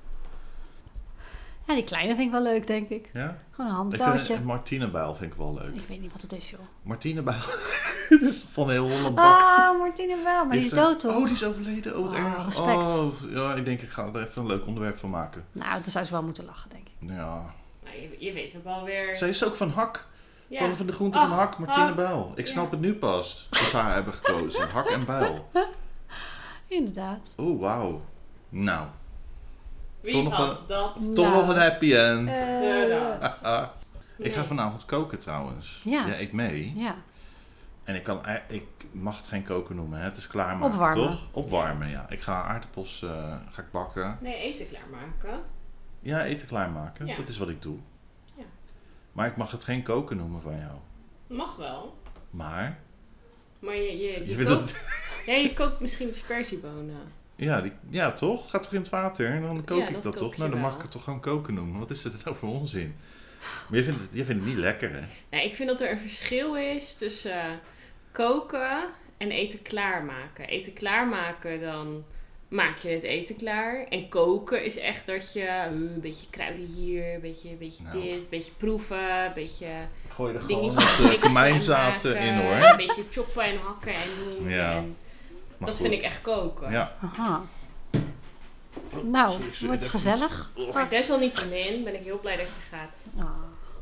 A: Ja, die kleine vind ik wel leuk, denk ik.
B: Ja?
A: Gewoon een
B: Ik vind
A: handbelletje.
B: een martinebijl vind ik wel leuk.
A: Ik weet niet wat het is, joh.
B: Martinebijl. Dit is van heel Holland bakt.
A: Ah, Martine wel, maar die is
B: er-
A: dood, toch?
B: Oh, die is overleden. Oh, wat
A: Oh,
B: erg.
A: respect.
B: Oh, ja, ik denk ik ga er even een leuk onderwerp van maken.
A: Nou, dan zou ze wel moeten lachen, denk ik.
B: Ja.
C: Nou, je, je weet ook wel weer.
B: Zij is ook van hak.
C: Ja.
B: eh, Van, van de groente
C: Ach,
B: van hak, Martine
C: hak.
B: Bijl. Ik
C: Ja.
B: snap het nu pas. Dat ze haar hebben gekozen. Hak en bijl.
A: Inderdaad.
B: Oh, wauw. Nou,
C: Wie
B: Toch nog
C: had
B: een-
C: dat?
B: toch
A: Nou.
B: nog een happy end.
A: Eh.
C: gedaan?
B: Ik ga vanavond koken trouwens.
A: Ja.
B: Jij eet mee.
A: Ja,
B: En ik, kan, ei- ik mag het geen koken noemen, hè. het is klaarmaken,
A: Opwarmen.
B: toch? Opwarmen, ja. Ik ga aardappels eh, ga ik bakken.
C: Nee, eten klaarmaken.
B: Ja, eten klaarmaken,
C: Ja.
B: dat is wat ik doe.
C: Ja.
B: Maar ik mag het geen koken noemen van jou.
C: Mag wel.
B: Maar,
C: Maar je, je, je,
B: je vindt
C: kookt,
B: dat...
C: ja, je kookt misschien sperziebonen.
B: Ja, die, ja, toch? Gaat toch in het water en dan kook
C: Ja,
B: ik dat,
C: dat kook
B: toch?
C: je
B: Nou, dan mag
C: wel.
B: ik het toch gewoon koken noemen. Wat is dat nou voor onzin? Maar jij vindt, het, jij vindt het niet lekker, hè?
C: Nee, ik vind dat er een verschil is tussen eh, koken en eten klaarmaken. Eten klaarmaken, dan maak je het eten klaar. En koken is echt dat je eh, een beetje kruiden hier, een beetje, een beetje
B: Nou.
C: dit, een beetje proeven, een beetje
B: Ik gooi er gewoon
C: dingetjes
B: eens, eh,
C: mixen en
B: komijnzaten
C: maken,
B: in, hoor.
C: Een beetje choppen en hakken en doen.
B: Ja,
C: en
B: Maar
C: dat
B: goed.
C: vind ik echt koken.
B: Ja,
A: aha. Nou,
B: sorry, sorry,
A: wordt
B: dat
A: gezellig.
C: Maar desalniettemin ben ik heel blij dat je gaat
A: Ah,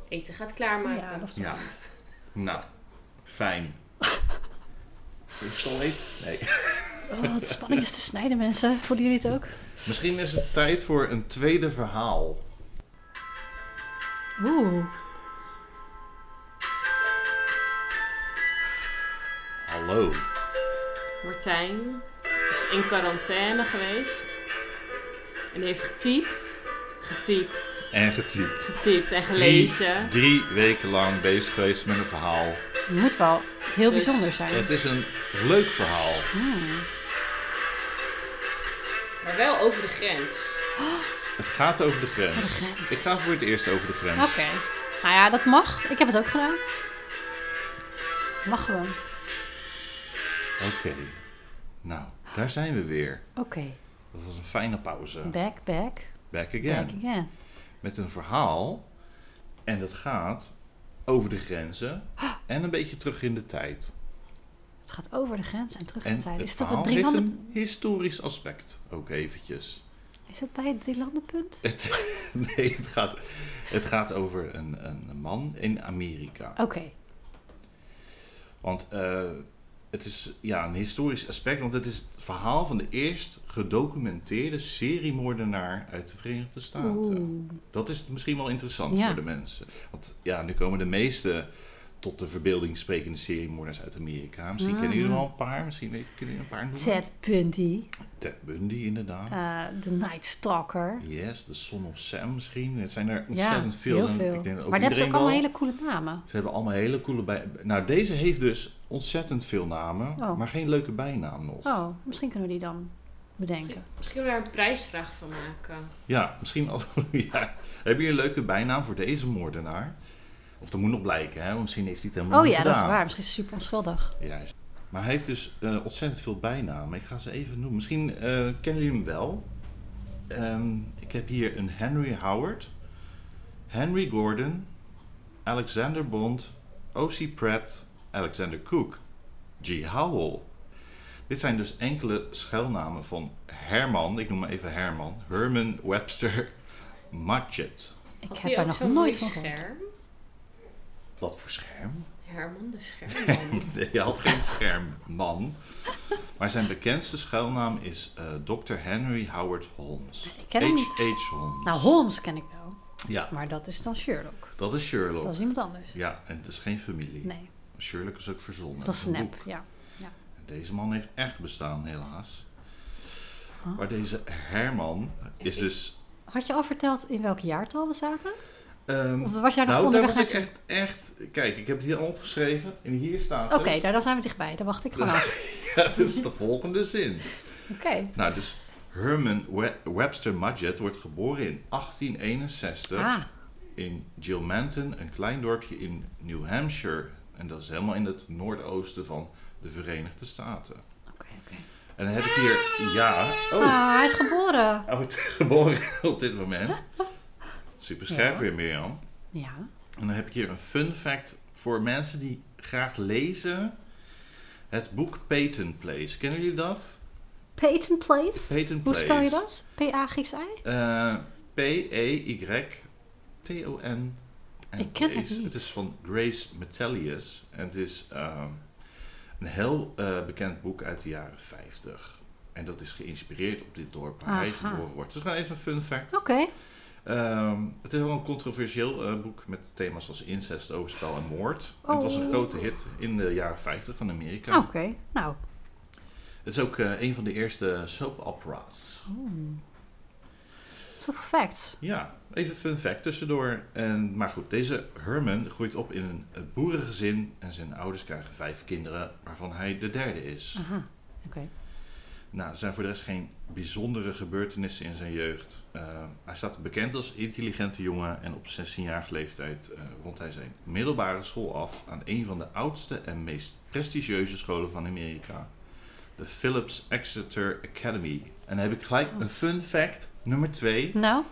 C: eten gaat klaarmaken.
A: ja, dat is
B: Ja. Nou, fijn. Is het al heet? Nee.
A: oh, de spanning is te snijden, mensen. Voelen jullie het ook?
B: Misschien is het tijd voor een tweede verhaal.
A: Oeh.
B: Hallo.
C: Martijn is in quarantaine geweest. En heeft getypt, getypt,
B: En getypt.
C: getypt en gelezen.
B: Drie weken lang bezig geweest met een verhaal.
A: Moet wel heel
C: Dus-
A: bijzonder zijn.
B: Het is een leuk verhaal.
C: Maar wel over de grens.
B: Het gaat over de grens. Ik ga voor het eerst over de
A: Oké.
B: grens.
A: Nou ja, dat mag. Ik heb het ook gedaan. Mag gewoon.
B: Oké. Nou, daar zijn we weer.
A: Oké.
B: Dat was een fijne pauze.
A: Back, back,
B: Back
A: back
B: again.
A: again.
B: Met een verhaal. En dat gaat over de grenzen. En een beetje terug in de tijd.
A: Het gaat over de grens en terug naar
B: En
A: het eiland.
B: het
A: Is het op het
B: verhaal heeft
A: drielanden...
B: een historisch aspect, ook eventjes.
A: Is het bij het drielandenpunt?
B: Eh. Nee, het gaat, het gaat over een, een man in Amerika.
A: Oké.
B: Want eh, het is ja, een historisch aspect, want het is het verhaal van de eerst gedocumenteerde seriemoordenaar uit de Verenigde Staten.
A: Oeh.
B: Dat is misschien wel interessant
A: Ja.
B: voor de mensen. Want ja, nu komen de meeste tot de verbeelding sprekende seriemoordenaars uit Amerika. Misschien kennen
A: Ah.
B: jullie er wel een paar, misschien weet- kennen jullie een paar noemen.
A: Ted Bundy,
B: Ted Bundy inderdaad.
A: eh, de Night Stalker.
B: Yes, The Son of Sam misschien. Het zijn er ontzettend veel.
A: heel
B: En
A: veel.
B: Ik denk dat ook
A: maar die hebben ze ook
B: iedereen
A: allemaal
B: wel-
A: hele coole namen.
B: Ze hebben allemaal hele coole bij. Nou, deze heeft dus ontzettend veel namen,
A: Oh.
B: maar geen leuke bijnaam nog.
A: Oh, misschien kunnen we die dan bedenken.
C: Misschien daar een prijsvraag van maken.
B: Ja, misschien al. ja. Heb je een leuke bijnaam voor deze moordenaar? Of dat moet nog blijken, hè? Want misschien heeft hij het helemaal
A: Oh
B: niet
A: ja, dat is
B: gedaan.
A: waar. Misschien is het super onschuldig.
B: Juist. Maar hij heeft dus eh, ontzettend veel bijnamen. Ik ga ze even noemen. Misschien eh, kennen jullie hem wel. Ehm, ik heb hier een Henry Howard, Henry Gordon, Alexander Bond, O.C. Pratt, Alexander Cook, G. Howell. Dit zijn dus enkele schuilnamen van Herman, ik noem hem even Herman, Herman Webster Matchett.
A: Ik
C: Had
A: heb
C: hij
A: daar
C: ook
A: nog
C: zo'n mooi
A: nooit van gehoord.
C: scherm?
B: Wat voor scherm?
C: Herman de Schermman.
B: Nee, hij had geen schermman. Maar zijn bekendste schuilnaam is eh, Dr. Henry Howard Holmes.
A: Ik ken hem niet.
B: H.H. Holmes.
A: Nou, Holmes ken ik wel.
B: Ja,
A: Maar dat is dan Sherlock.
B: dat is Sherlock.
A: Dat is iemand anders.
B: Ja, en het is geen familie.
A: Nee,
B: Sherlock is ook verzonnen.
A: dat is
B: een
A: nep.
B: boek.
A: Ja.
B: Deze man heeft echt bestaan, helaas. Maar deze Herman is dus...
A: Had je al verteld in welk jaartal we zaten?
B: ehm,
A: Of was jij nog
B: nou, daar
A: onderweg
B: was ik
A: naartoe?
B: echt, echt... Kijk, ik heb het hier al opgeschreven. En hier staat
A: Oké,
B: dus...
A: nou, dan zijn we dichtbij. Dan wacht ik gewoon af.
B: dat is de volgende zin.
A: Oké.
B: Nou, dus Herman We- Webster Mudgett wordt geboren in 1861
A: Ah,
B: in Gilmanton, een klein dorpje in New Hampshire. En dat is helemaal in het noordoosten van de Verenigde Staten.
A: oké, oké.
B: En dan heb ik hier, ja, oh,
A: Ah, hij is geboren.
B: hij wordt geboren op dit moment. Super scherp
A: Ja.
B: weer, Mirjam.
A: Ja.
B: En dan heb ik hier een fun fact voor mensen die graag lezen. Het boek Peyton Place. Kennen jullie dat?
A: Peyton Place.
B: Peyton
A: Hoe spel je
B: Place.
A: dat? P-A Grieks I?
B: Eh, E P-E-Y-T-O-N. en
A: Ik ken het
B: Grace.
A: niet.
B: is van Grace Metellius. En het is ehm, een heel eh, bekend boek uit de jaren 50. En dat is geïnspireerd op dit dorp waar hij
A: Aha.
B: geboren wordt. Dus nou even een fun fact.
A: Oké.
B: Ehm, het is wel een controversieel eh, boek met thema's als incest, overspel en moord. En het was een
A: Oh.
B: grote hit in de jaren 50 van Amerika.
A: Oké. Nou,
B: Het is ook eh, een van de eerste soap opera's.
A: zoveel facts.
B: Ja, even fun fact tussendoor. En, maar goed, deze Herman groeit op in een eh, boerengezin en zijn ouders krijgen vijf kinderen, waarvan hij de derde is.
A: Aha. Oké.
B: Nou, er zijn voor de rest geen bijzondere gebeurtenissen in zijn jeugd. Eh, hij staat bekend als intelligente jongen en op 16-jarige leeftijd eh rondt hij zijn middelbare school af aan een van de oudste en meest prestigieuze scholen van Amerika. De Phillips Exeter Academy. En dan heb ik gelijk een fun fact, nummer 2.
A: Nou,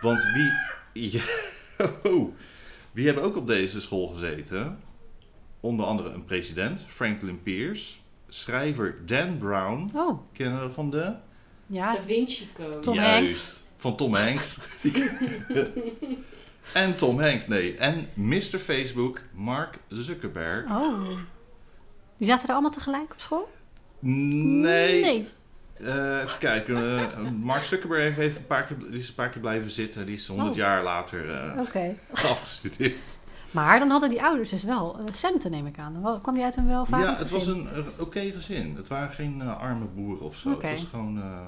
B: Want wie. Ja, oh. wie hebben ook op deze school gezeten? Onder andere een president, Franklin Pierce. Schrijver Dan Brown.
A: oh.
B: Kennen we van de.
A: Ja,
C: Da Vinci Code.
A: Tom
B: Van Tom Hanks. Die- en Tom Hanks, nee. En Mr. Facebook, Mark Zuckerberg.
A: oh. Die zaten er allemaal tegelijk op school?
B: Nee. Eh, even kijken. eh, Mark Zuckerberg heeft een paar keer, die is een paar keer blijven zitten. Die is 100
A: Oh.
B: jaar later eh,
A: Oké.
B: afgestudeerd.
A: Maar dan hadden die ouders dus wel eh, centen, neem ik aan. Wel- Kwam die uit een welvarend
B: Ja, het was
A: gezin?
B: een eh, oké gezin. Het waren geen eh, arme boeren of zo.
A: Oké.
B: Het was gewoon eh,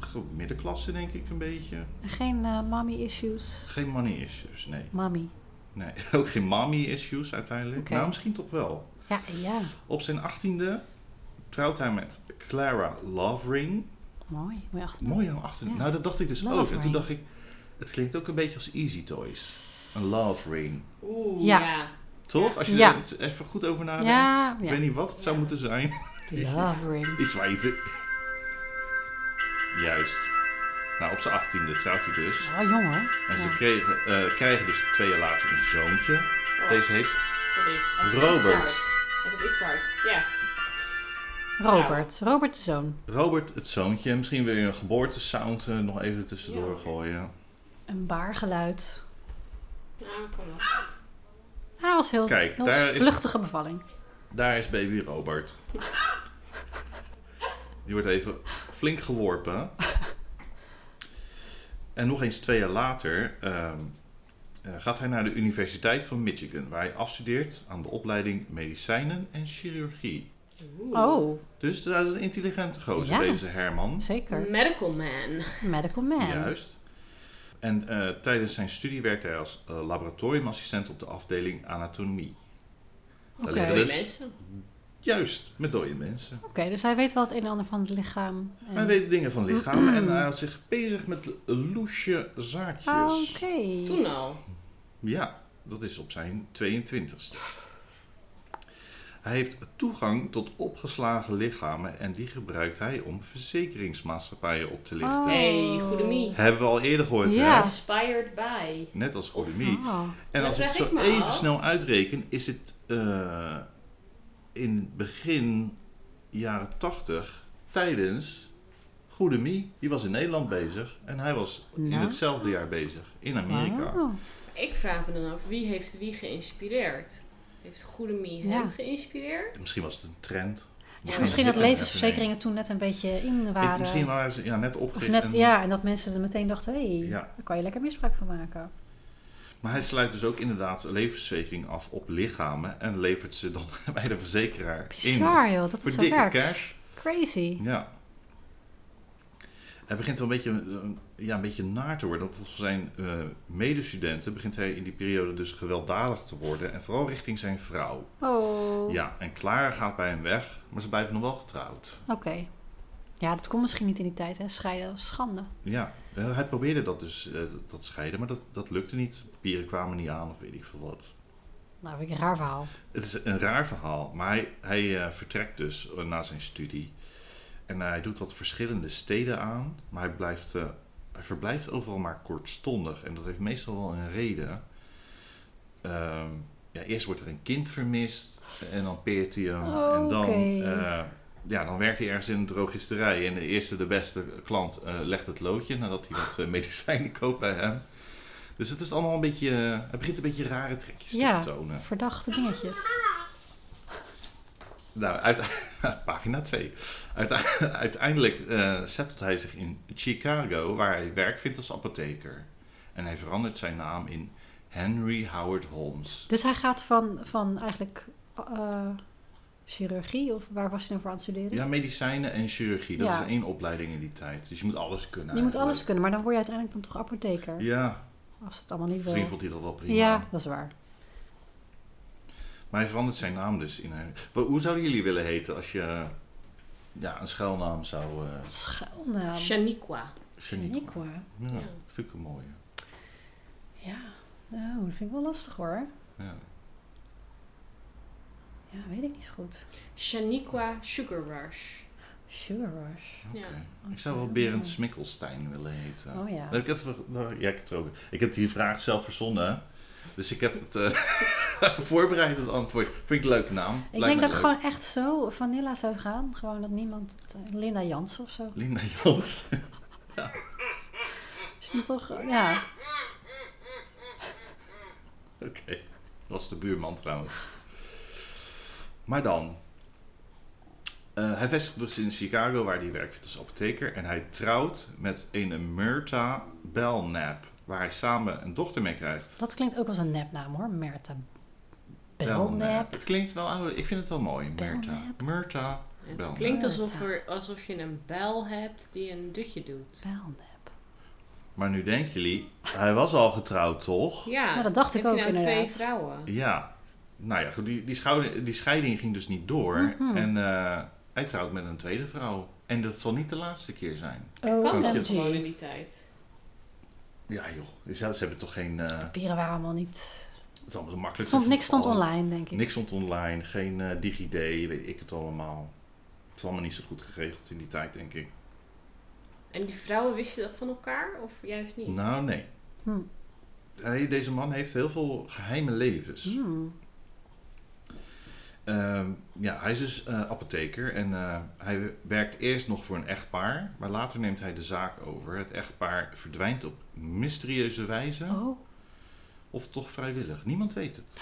B: gewoon middenklasse, denk ik, een beetje.
A: Geen eh, mommy issues.
B: Geen money issues, nee.
A: Mommy.
B: nee. Ook geen mommy issues uiteindelijk.
A: Oké.
B: Nou, misschien toch wel.
A: Ja, eh, ja.
B: Op zijn achttiende trouwt hij met Clara Lovering.
A: Mooi. Mooi achter.
B: Mooi aan achter.
A: Ja.
B: Nou, dat dacht ik dus ook. En
A: Lovering.
B: toen dacht ik, het klinkt ook een beetje als Easy Toys. Een love ring.
C: Oeh,
A: Ja.
C: ja.
B: Toch? Als je
A: Ja.
B: er t- even goed over nadenkt.
A: Ja,
B: Ik
A: ja.
B: weet niet wat het zou moeten zijn.
A: Lovering.
B: Iets waar iets- Juist. Nou, op zijn achttiende trouwt hij dus.
A: Oh, jongen.
B: En ze
A: Ja.
B: kregen, eh, krijgen dus twee jaar later een zoontje. Deze heet
C: Sorry, als het
B: Robert.
C: niet start. Is dat iets te hard? Ja.
A: Robert. Robert de zoon.
B: Robert, het zoontje. Misschien wil je een geboortesound eh, nog even tussendoor
C: Ja.
B: gooien.
A: Een baargeluid.
C: Nou, kan wel.
A: Hij was heel
B: Kijk,
A: dat
B: daar
A: was
B: is-
A: vluchtige bevalling.
B: Daar is baby Robert. Die wordt even flink geworpen. En nog eens twee jaar later ehm, eh, gaat hij naar de Universiteit van Michigan, waar hij afstudeert aan de opleiding Medicijnen en Chirurgie.
C: Oeh.
A: Oh,
B: Dus dat is een intelligente gozer,
A: Ja.
B: deze Herman.
A: zeker.
C: Medical man.
A: Medical man.
B: Juist. En eh, tijdens zijn studie werkte hij als eh, laboratoriumassistent op de afdeling anatomie. Daar
A: Oké.
B: liggen
C: Mooie
B: dus-
C: mensen.
B: Juist, met dode mensen.
A: Oké, dus hij weet wel het een en ander van het lichaam. En-
B: Hij weet dingen van lichaam en hij had zich bezig met loesje zaakjes.
A: Ah, Oké.
C: Toen al.
B: Ja, dat is op zijn 22ste. Hij heeft toegang tot opgeslagen lichamen en die gebruikt hij om verzekeringsmaatschappijen op te lichten.
A: Oh.
C: Hey, goede mie.
B: Hebben we al eerder gehoord,
A: Ja.
B: hè?
C: Inspired by.
B: Net als Olymie.
A: Oh.
B: En
C: Dat
B: als ik het
C: zeg
B: zo
C: ik me
B: even
C: af.
B: snel uitreken, is het eh, in begin jaren 80 tijdens Goede Mie. Die was in Nederland bezig en hij was in
A: Nou.
B: hetzelfde jaar bezig in Amerika.
A: Wauw.
C: Ik vraag me dan af, wie heeft wie geïnspireerd? Heeft goede mie
A: Ja.
C: hem geïnspireerd?
B: Misschien was het een trend.
A: Ja, misschien dat
B: was het een
A: levensverzekeringen toen net een beetje in
B: happening.
A: waren.
B: Ik- Misschien waren ze ja, net
A: of
B: opgericht.
A: net,
B: en-
A: ja, en dat mensen er meteen dachten, hé, hey,
B: Ja.
A: daar kan je lekker misbruik van maken.
B: Maar hij sluit dus ook inderdaad levensverzekering af op lichamen en levert ze dan bij de verzekeraar in.
A: Bizar joh, dat
B: Voor
A: het
B: dikke
A: zo werkt.
B: cash.
A: Crazy.
B: Ja. Hij begint wel een beetje, eh, ja, een beetje naar te worden. Volgens zijn eh, medestudenten begint hij in die periode dus gewelddadig te worden. En vooral richting zijn vrouw.
A: Oh,
B: Ja, en Clara gaat bij hem weg, maar ze blijven nog wel getrouwd.
A: oké. Ja, dat kon misschien niet in die tijd, hè. Scheiden was schande.
B: Ja, eh, hij probeerde dat dus, eh, dat scheiden, maar dat, dat lukte niet. Papieren kwamen niet aan of weet ik veel wat.
A: Nou, vind ik een raar verhaal.
B: Het is een raar verhaal, maar hij, hij eh, vertrekt dus eh, na zijn studie. En eh, hij doet wat verschillende steden aan, maar hij, blijft, eh, hij verblijft overal maar kortstondig. En dat heeft meestal wel een reden. Ehm, ja, eerst wordt er een kind vermist en dan peert hij hem. En dan,
A: Oh, Oké.
B: eh, ja, dan werkt hij ergens in een drogisterij. En de eerste, de beste klant eh, legt het loodje nadat hij wat eh, medicijnen koopt bij hem. Dus het is allemaal een beetje... eh, hij begint een beetje rare trekjes
A: Ja.
B: te vertonen.
A: Verdachte dingetjes.
B: Nou, uite- pagina 2. Uite- uiteindelijk eh, zettelt hij zich in Chicago, waar hij werk vindt als apotheker. En hij verandert zijn naam in Henry Howard Holmes.
A: Dus hij gaat van, van eigenlijk eh, chirurgie, of waar was hij nou voor aan het studeren?
B: Ja, medicijnen en chirurgie, dat
A: Ja.
B: is één opleiding in die tijd. Dus je moet alles kunnen.
A: je moet alles
B: eigenlijk.
A: kunnen, maar dan word je uiteindelijk dan toch apotheker.
B: Ja,
A: Als het allemaal niet wil.
B: misschien vond hij dat wel prima.
A: Ja, dat is waar.
B: Maar hij verandert zijn naam dus in Henry. Wa- Hoe zouden jullie willen heten als je ja, een schuilnaam zou... eh
A: Schuilnaam.
C: Shaniqua.
B: Shaniqua.
A: Shaniqua.
B: Ja,
C: Ja.
B: vind ik een mooie.
A: Ja, nou, dat vind ik wel lastig hoor.
B: Ja.
A: Ja, weet ik niet zo goed.
C: Shaniqua Sugar Rush.
A: Sugar Rush.
C: Ja.
B: Oké. Ik zou wel
A: Oké.
B: Berend Smikkelstein willen heten.
A: Oh ja.
B: Heb ik, even, nou, ja, ik, heb het ook- ik heb die vraag zelf verzonnen. hè. Dus ik heb het eh, voorbereid, het antwoord. Vind ik een leuke naam.
A: Ik
B: Lijkt
A: denk
B: mij
A: dat ik
B: leuk.
A: gewoon echt zo vanilla zou gaan. Gewoon dat niemand... het- Linda Jans of zo.
B: Linda Jans.
A: Is het toch... Ja.
B: Oké. Dat is de buurman trouwens. Maar dan. Eh, hij vestigt dus in Chicago, waar hij werkt als apotheker. En hij trouwt met een Myrta Belknap. Waar hij samen een dochter mee krijgt.
A: Dat klinkt ook als een nepnaam hoor. Merta Belnap.
B: Het klinkt wel ouder. Ik vind het wel mooi. Myrta.
A: Belnap.
B: Myrta.
C: Het
B: Bel.
C: klinkt alsof, er, alsof je een bel hebt die een dutje doet.
A: Belnap.
B: Maar nu denken jullie, hij was al getrouwd, toch?
C: Ja,
A: Nou, dat dacht ik
C: heb
A: ook
C: je nou twee
A: inderdaad.
C: vrouwen?
B: Ja. Nou ja, goed, die, die, schouder- die scheiding ging dus niet door.
A: Mhm.
B: En eh, hij trouwt met een tweede vrouw. En dat zal niet de laatste keer zijn.
C: Kan dat
B: OMG.
C: gewoon in die tijd?
B: Ja joh, ze, ze hebben toch geen... eh, het
A: Papieren waren allemaal niet...
B: is allemaal zo makkelijk.
A: Stond,
B: te
A: niks stond
B: vervallen.
A: online denk ik.
B: Niks stond online, geen eh DigiD, weet ik het allemaal. Het is allemaal niet zo goed geregeld in die tijd, denk ik.
C: En die vrouwen wisten dat van elkaar of juist niet?
B: Nou, nee.
A: Hm.
B: Hij- deze man heeft heel veel geheime levens.
A: Hmm.
B: Ehm, ja, hij is dus eh, apotheker en eh, hij werkt eerst nog voor een echtpaar, maar later neemt hij de zaak over. Het echtpaar verdwijnt op mysterieuze wijze,
A: Oh,
B: of toch vrijwillig. Niemand weet het.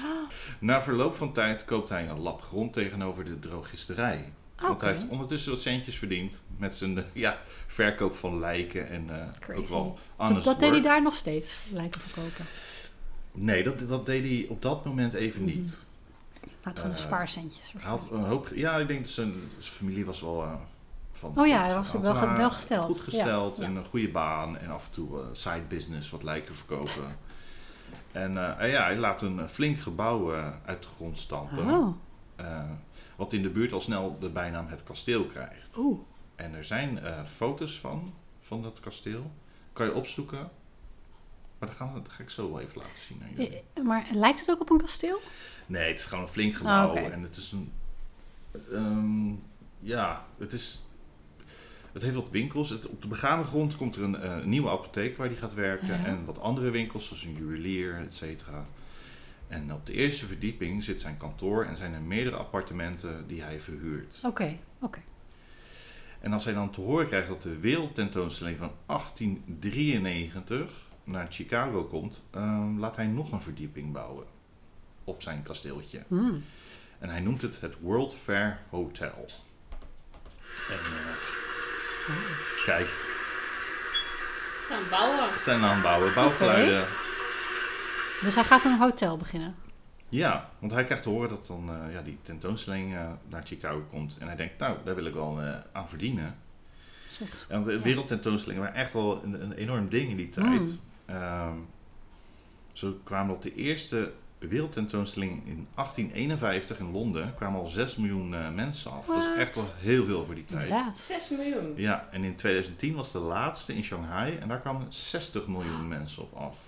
B: Na verloop van tijd koopt hij een lap grond tegenover de drogisterij.
A: oké.
B: Want hij heeft ondertussen wat centjes verdiend met zijn eh, ja, verkoop van lijken en eh,
A: Crazy.
B: ook wel
A: Dat,
B: honest
A: dat deed hij
B: work.
A: daar nog steeds, lijken verkopen.
B: Nee, dat, dat deed hij op dat moment even
A: Mhm.
B: niet.
A: Hij had gewoon
B: Eh,
A: spaarcentjes.
B: Hij had een hoop. Ja, ik denk dat zijn, zijn familie was wel. eh, van,
A: Oh ja, hij was
B: had eh,
A: wel ge- wel gesteld.
B: Goed gesteld
A: Ja,
B: en een goede baan en af en toe eh, side business, wat lijken verkopen. En eh, eh, ja, hij laat een eh, flink gebouw eh, uit de grond stampen.
A: Oh,
B: eh, wat in de buurt al snel de bijnaam het kasteel krijgt.
A: oeh.
B: En er zijn eh, foto's van, van dat kasteel. Kan je opzoeken. Maar dat ga, dat ga ik zo wel even laten zien aan jullie.
A: Eh, Maar lijkt het ook op een kasteel?
B: Nee, het is gewoon een flink gebouw.
A: Ah, oké.
B: En het is een. ehm, ja, het is. Het heeft wat winkels. Het, op de begane grond komt er een eh, nieuwe apotheek waar die gaat werken.
A: Ja.
B: En wat andere winkels, zoals een juwelier, et cetera. En op de eerste verdieping zit zijn kantoor en zijn er meerdere appartementen die hij verhuurt.
A: Oké, oké.
B: En als hij dan te horen krijgt dat de wereldtentoonstelling van 1893 naar Chicago komt, ehm, laat hij nog een verdieping bouwen op zijn kasteeltje.
A: Hmm.
B: En hij noemt het het World Fair Hotel. En, eh, Kijk,
C: Gaan bouwen.
B: het zijn aanbouwen, bouwgeluiden.
A: Dus hij gaat een hotel beginnen.
B: Ja, want hij krijgt te horen dat dan eh, ja, die tentoonstelling eh, naar Chicago komt. En hij denkt, nou, daar wil ik wel eh, aan verdienen.
A: Zeg.
B: En de
A: Ja. Mm.
B: wereldtentoonstellingen waren echt wel een, een enorm ding in die tijd. Ehm, zo kwamen op de eerste wereldtentoonstelling in 1851 in Londen kwamen al 6 miljoen eh, mensen af. Dat
A: Wat?
B: is echt wel heel veel voor die tijd.
A: Inderdaad.
C: 6 miljoen.
B: Ja, en in 2010 was de laatste in Shanghai en daar kwamen 60 miljoen mensen op af.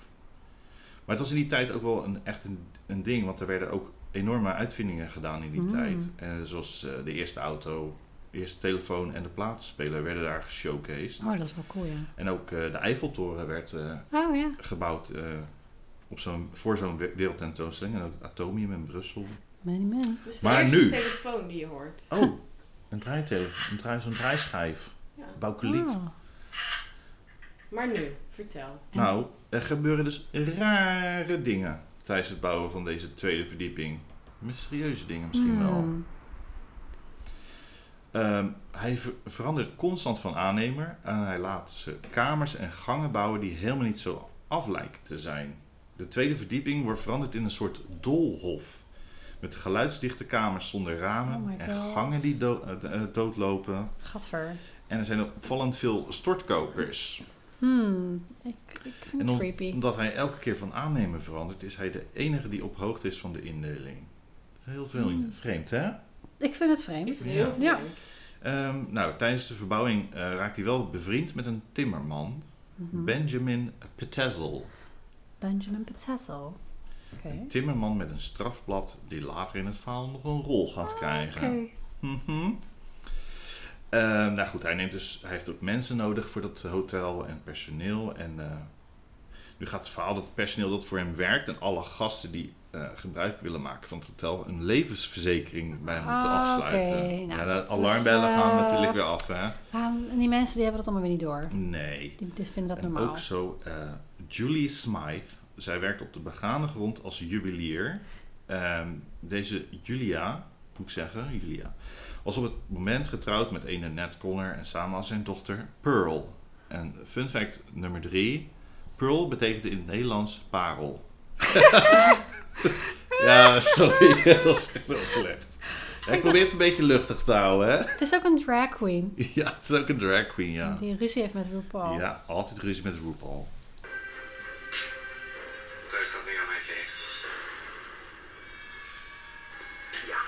B: Maar het was in die tijd ook wel een, echt een, een ding, want er werden ook enorme uitvindingen gedaan in die
A: Mm.
B: tijd. Eh, zoals eh, de eerste auto, de eerste telefoon en de platenspeler werden daar geshowcased.
A: Oh, dat is wel cool, ja.
B: En ook eh, de Eiffeltoren werd eh,
A: Oh ja.
B: gebouwd eh, op zo'n, voor zo'n we- wereldtentoonstelling en ook het Atomium in Brussel.
A: Many, many.
C: Dus de
B: Maar
C: eerste
B: nu?
C: telefoon die je hoort.
B: Oh, een draaitelefoon, een draai, zo'n draaischijf,
C: Ja.
B: baukeliet.
A: Oh.
C: Maar nu, vertel.
A: En-
B: Nou, er gebeuren dus rare dingen tijdens het bouwen van deze tweede verdieping. Mysterieuze dingen misschien wel.
A: Hmm.
B: Ehm, hij ver- verandert constant van aannemer en hij laat ze kamers en gangen bouwen die helemaal niet zo af lijken te zijn. De tweede verdieping wordt veranderd in een soort doolhof. Met geluidsdichte kamers zonder ramen
A: Oh my
B: en
A: God.
B: gangen die do- eh, eh, doodlopen.
A: Gadver.
B: En er zijn nog opvallend veel stortkokers.
A: Hmm. Ik, ik vind
B: En
A: het
B: om-
A: creepy.
B: Omdat hij elke keer van aannemer verandert, is hij de enige die op hoogte is van de indeling. Dat is heel veel
A: Hmm.
B: vreemd, hè?
A: Ik vind het
C: Ik
A: vreemd.
C: vind het heel
A: Ja.
C: vreemd.
B: Ehm, nou, tijdens de verbouwing eh, raakt hij wel bevriend met een timmerman,
A: Mhm.
B: Benjamin Petzel.
A: Benjamin Petzl. Oké.
B: Een timmerman met een strafblad die later in het verhaal nog een rol gaat krijgen.
A: Ah, Oké.
B: Mhm. Ehm, nou goed, hij, neemt dus, hij heeft ook mensen nodig voor dat hotel en personeel. En eh, nu gaat het verhaal dat het personeel dat voor hem werkt en alle gasten die eh, gebruik willen maken van het hotel een levensverzekering bij hem te
A: Ah,
B: afsluiten.
A: oké. Nou,
B: ja,
A: dat
B: de
A: is,
B: alarmbellen
A: eh,
B: gaan natuurlijk weer af, hè?
A: Ah, en die mensen die hebben dat allemaal weer niet door.
B: Nee.
A: Die, die vinden dat
B: En
A: normaal.
B: ook zo, eh, Julie Smythe. Zij werkt op de begane grond als juwelier. Ehm, deze Julia, moet ik zeggen, Julia, was op het moment getrouwd met ene Ned Connor en samen als zijn dochter Pearl. En fun fact nummer drie, Pearl betekent in het Nederlands parel. ja, sorry, dat is echt wel slecht. Ja, ik probeer het een beetje luchtig te houden, hè?
A: Het is ook een drag queen.
B: Ja, het is ook een drag queen, ja.
A: Die ruzie heeft met RuPaul.
B: Ja, altijd ruzie met RuPaul.
E: There's something on my face. Yeah.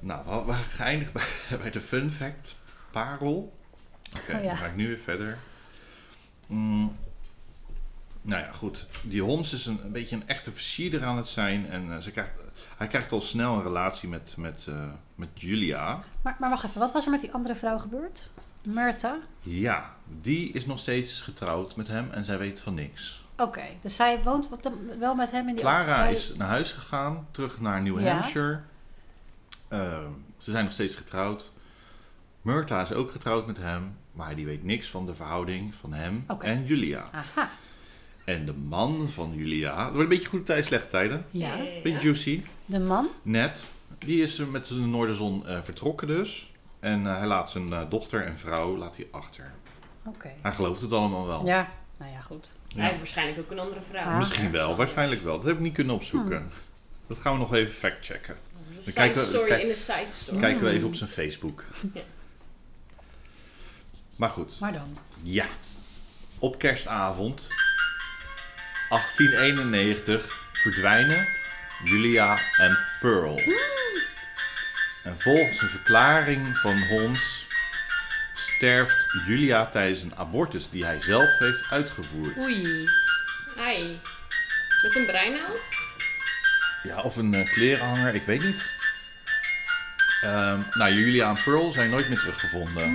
B: Nou, we hadden- we waren geëindigd bij, bij de fun fact. Parel. Oké,
A: Oh ja.
B: dan ga ik nu weer verder. Mm, nou ja, goed. Die Holmes is een, een beetje een echte versierder aan het zijn. En eh, ze krijgt, hij krijgt al snel een relatie met, met, eh, met Julia.
A: Maar, maar wacht even, wat was er met die andere vrouw gebeurd? Myrtha?
B: Ja, die is nog steeds getrouwd met hem en zij weet van niks.
A: Oké, dus zij woont op de, wel met hem in die...
B: Clara
A: hij-
B: is naar huis gegaan, terug naar New
A: Ja.
B: Hampshire. Ehm, ze zijn nog steeds getrouwd. Myrtha is ook getrouwd met hem, maar die weet niks van de verhouding van hem
A: Oké. Ah.
B: en Julia.
A: Aha,
B: En de man van Julia, het wordt een beetje goede tijden, slechte tijden.
A: ja.
B: Beetje juicy.
A: De man?
B: Net, die is eh, met de Noorderzon eh, vertrokken dus. En eh, hij laat zijn eh, dochter en vrouw laat hij achter.
A: Oké.
B: Hij gelooft het allemaal wel.
A: Ja, nou ja, goed.
B: Ja.
C: Hij heeft waarschijnlijk ook een andere vrouw.
A: Ja.
B: Misschien wel, waarschijnlijk wel. Dat heb ik niet kunnen opzoeken.
A: Hmm.
B: Dat gaan we nog even factchecken.
C: Een
B: Dan
C: side
B: kijken we-
C: story
B: kijk-
C: in een side story.
B: Dan kijken we even op zijn Facebook.
C: Ja.
B: Maar goed,
A: Maar dan?
B: ja. Op kerstavond 1891 verdwijnen Julia en Pearl. En volgens een verklaring van Holmes sterft Julia tijdens een abortus die hij zelf heeft uitgevoerd.
A: Oei.
C: Hi. Met een breinaald?
B: Ja, of een eh, klerenhanger, ik weet niet. Ehm, nou, Julia en Pearl zijn nooit meer teruggevonden.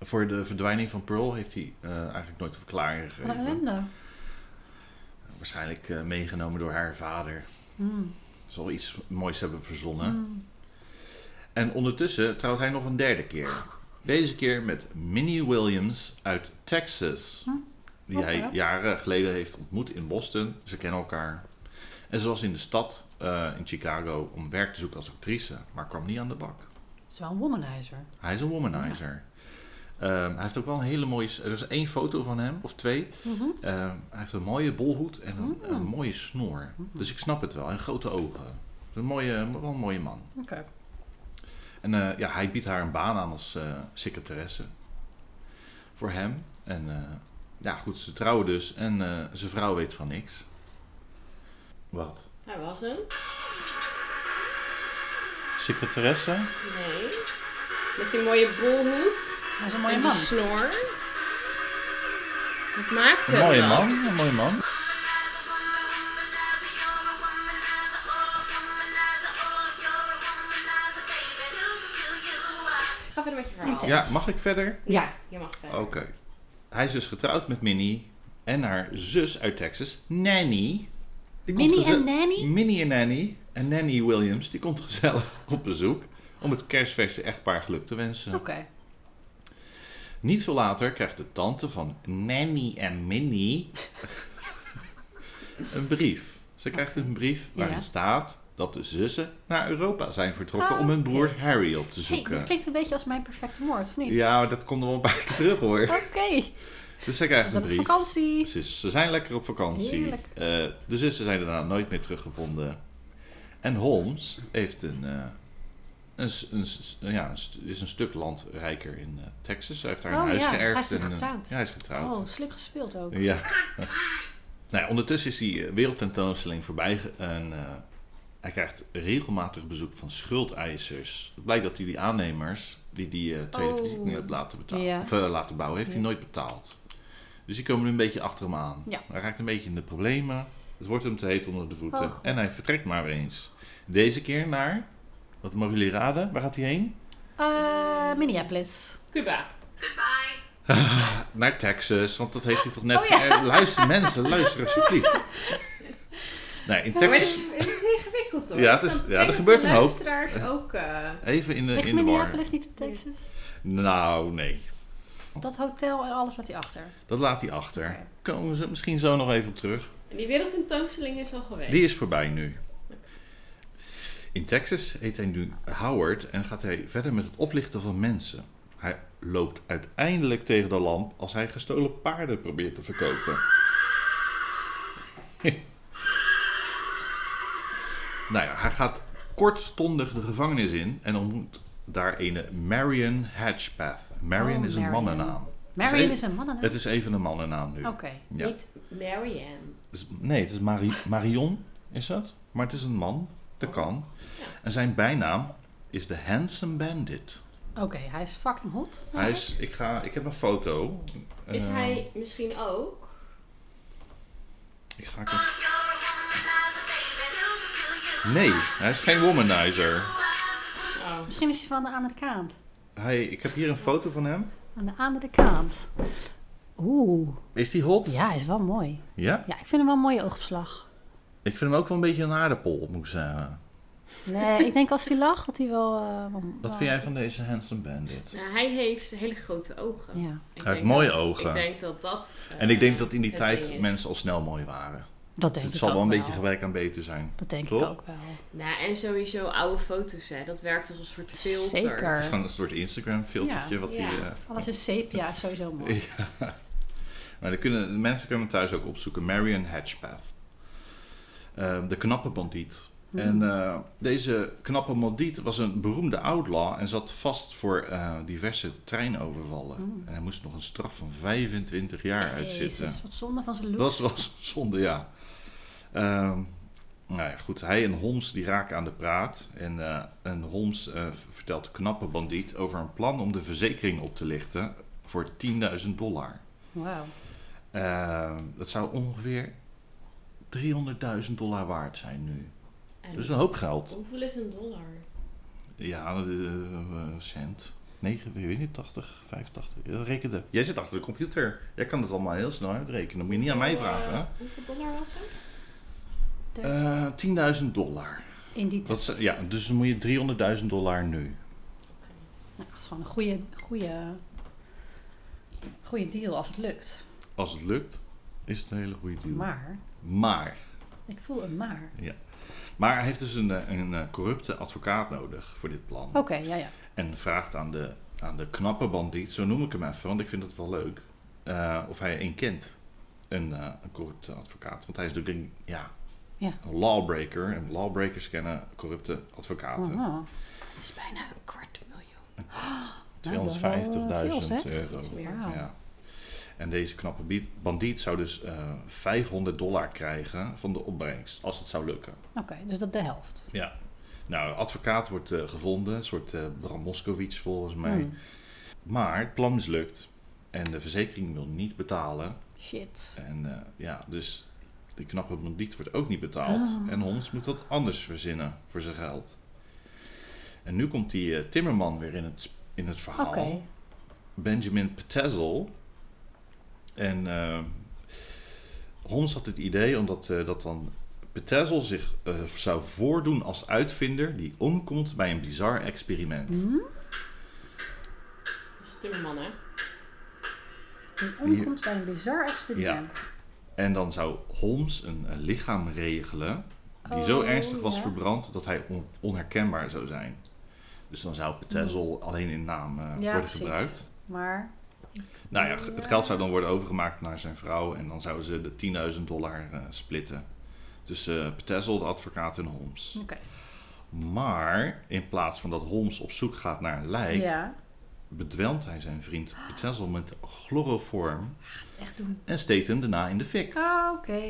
B: Voor de verdwijning van Pearl heeft hij eh, eigenlijk nooit een verklaring
A: Wat een
B: gegeven.
A: ellende.
B: Waarschijnlijk eh, meegenomen door haar vader.
A: Hmm.
B: Zal iets moois hebben verzonnen. En ondertussen trouwt hij nog een derde keer. Deze keer met Minnie Williams uit Texas. Die
A: Hm. oké.
B: hij jaren geleden heeft ontmoet in Boston. Ze kennen elkaar. En ze was in de stad eh, in Chicago om werk te zoeken als actrice, maar kwam niet aan de bak.
A: Het is wel een womanizer.
B: Hij is een womanizer. Ehm, hij heeft ook wel een hele mooie. Er is één foto van hem, of twee.
A: Mhm.
B: Ehm, hij heeft een mooie bolhoed en een, een mooie snor. Dus ik snap het wel. En grote ogen. Een mooie, wel een mooie man.
A: Oké.
B: En eh, ja, hij biedt haar een baan aan als eh, secretaresse. Voor hem. En eh, ja, goed, ze trouwen dus. En eh, zijn vrouw weet van niks. Wat?
C: Hij was hem.
B: Secretaresse?
C: Nee. Met die mooie bolhoed.
A: Dat is een
C: en
A: mooie
C: die
A: man.
C: snor. Wat maakt
B: Een
C: hem
B: mooie
C: dat?
B: man. Een mooie man.
C: Ga verder met je verhaal.
A: Intens.
B: Ja, mag ik verder?
A: Ja.
C: Je mag verder.
B: Oké. Hij is dus getrouwd met Minnie en haar zus uit Texas, Nanny. Die komt
A: Minnie
B: geze-
A: en Nanny?
B: Minnie en Nanny. En Nanny Williams, die komt gezellig op bezoek om het kerstverse echtpaar geluk te wensen.
A: Oké.
B: Niet veel later krijgt de tante van Nanny en Minnie een brief. Ze krijgt een brief waarin
A: Ja.
B: staat dat de zussen naar Europa zijn vertrokken
A: Ah,
B: om hun broer
A: oké.
B: Harry op te
A: Hey,
B: zoeken.
A: dit klinkt een beetje als mijn perfecte moord, of niet?
B: ja, maar dat komt er wel een paar keer terug hoor.
A: Oké.
B: Dus ze
A: Ze
B: krijgt een
A: zijn op
B: brief.
A: vakantie.
B: Ze, ze zijn lekker op vakantie.
A: Heerlijk.
B: Eh, de zussen zijn daarna nooit meer teruggevonden. En Holmes heeft een, eh, een, s- een s- ja, een st- is een stuk land rijker in eh, Texas. Hij heeft daar een
A: Oh,
B: huis
A: ja,
B: geërfd.
A: hij is nog
B: en, eh,
A: getrouwd.
B: Ja, hij is getrouwd.
A: Oh, slim gespeeld ook.
B: Ja. nou ja, ondertussen is die eh, wereldtentoonstelling voorbij ge- en eh, hij krijgt regelmatig bezoek van schuldeisers. Het blijkt dat hij die aannemers die die eh, tweede
A: Oh.
B: verdieping heeft laten, betalen,
A: Ja.
B: of, eh, laten bouwen, heeft hij
A: Ja.
B: nooit betaald. Dus die komen nu een beetje achter hem aan.
A: Ja.
B: Hij raakt een beetje in de problemen. Het wordt hem te heet onder de voeten.
A: Oh, God.
B: en hij vertrekt maar weer eens. Deze keer naar, wat mogen jullie raden, waar gaat hij heen?
A: Eh, Minneapolis.
C: Cuba.
B: Naar Texas, want dat heeft hij toch net...
A: Oh, ja.
B: ge- eh, Luister mensen, luister alsjeblieft. Nee, in
C: Maar
B: Texas...
C: het is, het is ingewikkeld hoor.
B: Ja, het is-
C: Dan
B: ja, er
C: denken
B: gebeurt
C: de
B: een hoop.
C: luisteraars ook. eh,
B: Even in de,
A: Ligt
B: in de war.
A: Minneapolis niet in Texas?
B: Nou, nee.
A: Dat hotel en alles laat hij achter.
B: Dat laat hij achter.
A: Oké.
B: Komen ze misschien zo nog even op terug.
C: die wereldtentoonstelling is al geweest.
B: Die is voorbij nu. In Texas heet hij nu Howard en gaat hij verder met het oplichten van mensen. Hij loopt uiteindelijk tegen de lamp als hij gestolen paarden probeert te verkopen. nou ja, hij gaat kortstondig de gevangenis in en ontmoet daar ene Marion Hatchpath. Marion
A: Oh,
B: is een
A: Marion.
B: mannennaam.
A: Marion
B: Ze-
A: is een man en
B: Het is even een mannennaam nu.
A: Oké.
B: Ja.
C: Niet Marianne.
B: Dus- Nee, het is Mari- Marion, is dat? Maar het is een man, dat
A: Oh.
B: kan. En zijn bijnaam is de Handsome Bandit.
A: Oké, hij is fucking hot.
B: Hij is, ik, ga, ik heb een foto.
C: Is
B: Eh,
C: hij misschien ook?
B: Ik ga even- nee, hij is geen womanizer.
C: Oh.
A: Nou, Misschien is hij van de andere kant.
B: Hij, ik heb hier een foto van hem.
A: Aan de andere kant. Oeh,
B: Is die hot?
A: ja, is wel mooi.
B: Ja?
A: Ja, ik vind hem wel een mooie oogopslag.
B: Ik vind hem ook wel een beetje een aardappel, moet ik zeggen.
A: Nee, ik denk als hij lacht dat hij wel... eh, wel-
B: Wat
A: wel-
B: vind jij van deze handsome bandit?
C: Nou, hij heeft hele grote ogen.
A: Ja,
C: Ik
B: Hij heeft
C: denk
B: mooie
C: dat-
B: ogen.
C: Ik denk dat dat...
B: En ik denk dat in die
C: eh, het ding
B: tijd
C: is.
B: mensen al snel mooi waren.
A: dat
B: Dus
A: denk
B: het
A: ik
B: zal
A: ook
B: wel een beetje gebrek aan beter zijn.
A: Dat denk ik
B: Toch?
A: ook wel.
C: Nou, en sowieso oude foto's, hè. Dat werkt als een soort filter.
A: Zeker.
B: Het is gewoon een soort Instagram filtertje
A: Ja.
B: wat
C: Ja.
B: hij... eh,
A: Alles in sepia is sowieso mooi.
B: Maar dan kunnen, de mensen kunnen hem thuis ook opzoeken. Marion Hatchpath. Ehm, de knappe bandiet. En eh, deze knappe bandiet was een beroemde outlaw en zat vast voor eh, diverse treinovervallen. En hij moest nog een straf van 25 jaar uitzitten.
A: Jezus, wat zonde van zijn look.
B: Dat was zonde, ja. Ehm, nou ja, goed. Hij en Holmes die raken aan de praat. En, eh, en Holmes eh, vertelt de knappe bandiet over een plan om de verzekering op te lichten voor 10.000 dollar.
A: Wauw.
B: Ehm, dat zou ongeveer 300.000 dollar waard zijn nu.
C: En
B: Dus een hoop geld.
C: Hoeveel is een dollar?
B: Ja, eh, eh, cent. 9, weet niet, 80, 85. Ja, reken het. Jij zit achter de computer. Jij kan het allemaal heel snel uitrekenen. Dat moet je niet aan mij
C: Hoeveel, eh,
B: vragen. hè?
C: hoeveel dollar was het?
B: Eh 10.000 dollar.
A: In die
B: Dat is, ja, dus dan moet je 300.000 dollar nu.
A: Nou, dat is gewoon een goede, goede, goede deal als het lukt.
B: Als het lukt, is het een hele goede deal.
A: Maar,
B: Maar,
A: ik voel een maar.
B: maar hij heeft dus een, eh, een eh, corrupte advocaat nodig voor dit plan.
A: Oké, ja, ja.
B: En vraagt aan de, aan de knappe bandiet, zo noem ik hem even, want ik vind het wel leuk, eh, of hij een kent, een, eh, een corrupte advocaat. Want hij is natuurlijk een, ja,
A: Ja.
B: een lawbreaker. En lawbreakers kennen corrupte advocaten.
A: Oh,
C: Het is bijna een kwart miljoen.
B: 250.000
A: eh, veel, zeg.
B: euro.
C: Dat is meer.
A: wauw.
B: Ja. En deze knappe bi- bandiet zou dus eh, 500 dollar krijgen van de opbrengst, als het zou lukken.
A: Oké, dus dat de helft.
B: Ja. Nou, de advocaat wordt eh, gevonden, een soort eh Bram Moskowitz volgens mij.
A: Hmm.
B: Maar het plan mislukt en de verzekering wil niet betalen.
A: Shit.
B: En eh, ja, dus de knappe bandiet wordt ook niet betaald.
A: Oh.
B: En Holmes moet wat anders verzinnen voor zijn geld. En nu komt die eh, timmerman weer in het, in het
A: Oké.
B: verhaal. Benjamin Petzel. En eh, Holmes had het idee omdat eh, dat dan Petzel zich eh, zou voordoen als uitvinder die omkomt bij een bizar experiment.
A: Mhm.
C: Dat is Timmerman, hè?
A: Een omkomt bij een bizar experiment.
B: En dan zou Holmes een, een lichaam regelen die zo
A: Oh,
B: ernstig was
A: ja.
B: verbrand dat hij on- onherkenbaar zou zijn. Dus dan zou Petzel alleen in naam eh, worden
A: Mhm. precies.
B: gebruikt.
A: Maar,
B: Nou ja, het geld zou dan worden overgemaakt naar zijn vrouw en dan zouden ze de 10.000 dollar eh, splitten. Tussen eh Petzel, de advocaat en Holmes.
A: oké.
B: Maar in plaats van dat Holmes op zoek gaat naar een lijk,
A: Ja.
B: bedwelmt hij zijn vriend Petzel met chloroform
A: Echt doen.
B: en steekt hem daarna in de fik.
A: Ah, oké.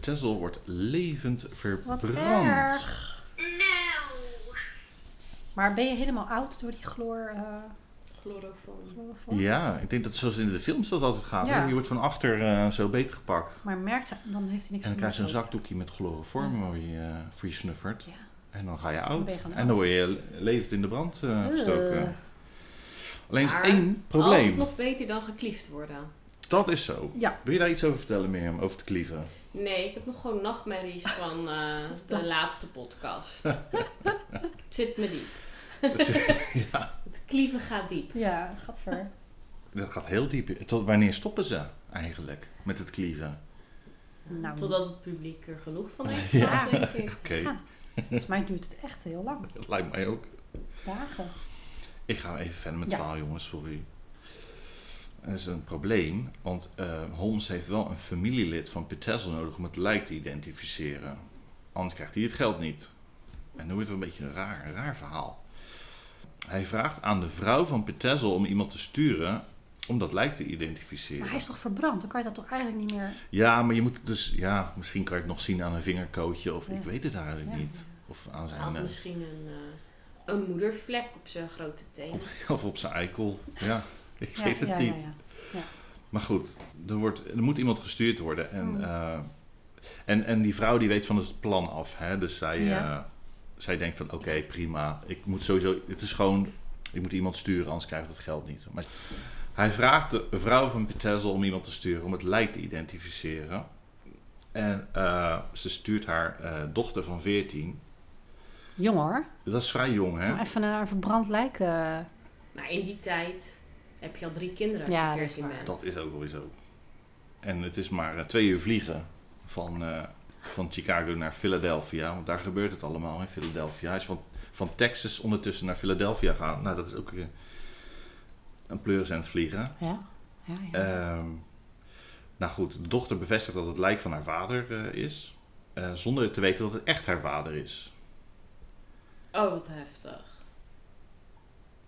B: Petzel wordt levend
A: Wat
B: verbrand.
A: erg.
D: No.
A: Maar ben je helemaal oud door die chloor... eh,
C: Chloroform.
A: chloroform?
B: Ja, ik denk dat zoals in de films dat altijd gaat.
A: Ja.
B: hè? Je wordt van achter eh, zo beter gepakt.
A: Maar merkt hij, dan heeft hij niks
B: En dan
A: meer
B: krijg je een
A: over.
B: zakdoekje met chloroform waar je, eh, voor je snuffert.
A: Ja.
B: En dan ga je
A: Dan
B: oud.
A: ben je gewoon
B: en dan word je levend in de brand eh, gestoken.
A: Ugh.
B: Alleen is
C: Maar
B: één
C: Altijd
B: probleem.
C: nog beter dan gekliefd worden.
B: Dat is zo.
A: Ja.
B: Wil je daar iets over vertellen, Mirjam? Over te klieven?
C: Nee, ik heb nog gewoon nachtmerries van eh, de laatste podcast. Het Zit me diep.
B: ja.
C: Het klieven gaat diep.
A: Ja, gadver.
B: Dat gaat heel diep. Tot wanneer stoppen ze eigenlijk met het klieven?
A: Nou,
C: Totdat het publiek er genoeg van heeft
B: Ja.
C: gehad, denk ik.
B: Oké,
A: Ah. volgens mij duurt het echt heel lang.
B: dat lijkt mij ook.
A: Dagen.
B: Ik ga even verder met
A: Ja.
B: het verhaal, jongens. Sorry. Dat is een probleem, want eh, Holmes heeft wel een familielid van Petzel nodig om het lijk te identificeren. Anders krijgt hij het geld niet. En dan wordt het een beetje een raar, een raar verhaal. Hij vraagt aan de vrouw van Petzel om iemand te sturen om dat lijk te identificeren.
A: Maar hij is toch verbrand? Dan kan je dat toch eigenlijk niet meer...
B: Ja, maar je moet het dus, ja, misschien kan je het nog zien aan een vingerkootje of
A: Ja.
B: ik weet het eigenlijk
A: Ja.
B: niet. Of aan
C: Hij
B: zijn,
C: had
B: eh,
C: misschien een, eh, een moedervlek op zijn grote teen.
B: eh, of op zijn eikel. Ja, ik weet het
A: ja,
B: niet.
A: Ja, ja.
B: Maar goed, er, wordt, er moet iemand gestuurd worden. En,
A: Mm.
B: eh, en, en die vrouw die weet van het plan af. Hè? Dus zij,
A: Ja.
B: eh, zij denkt van oké, prima. Ik moet sowieso. Het is gewoon Ik moet iemand sturen, anders krijg ik dat geld niet. Maar hij vraagt de vrouw van Bethesda om iemand te sturen om het lijk te identificeren. En eh, ze stuurt haar eh, dochter van 14.
A: Jong hoor.
B: Dat is vrij jong, hè?
A: Om even naar een verbrand lijk. eh,
C: Maar in die tijd heb je al drie kinderen als
A: Ja,
C: je
A: dat is
C: 14
A: waar.
C: bent.
B: Dat is ook wel zo. En het is maar eh, twee uur vliegen van, eh, van Chicago naar Philadelphia. Want daar gebeurt het allemaal in Philadelphia. Hij is van, van Texas ondertussen naar Philadelphia gaan. Nou, dat is ook eh, een pleurs aan het vliegen.
A: ja. ja, ja.
B: Ehm, nou goed, de dochter bevestigt dat het lijk van haar vader eh, is. eh, zonder te weten dat het echt haar vader is.
C: Oh, wat heftig.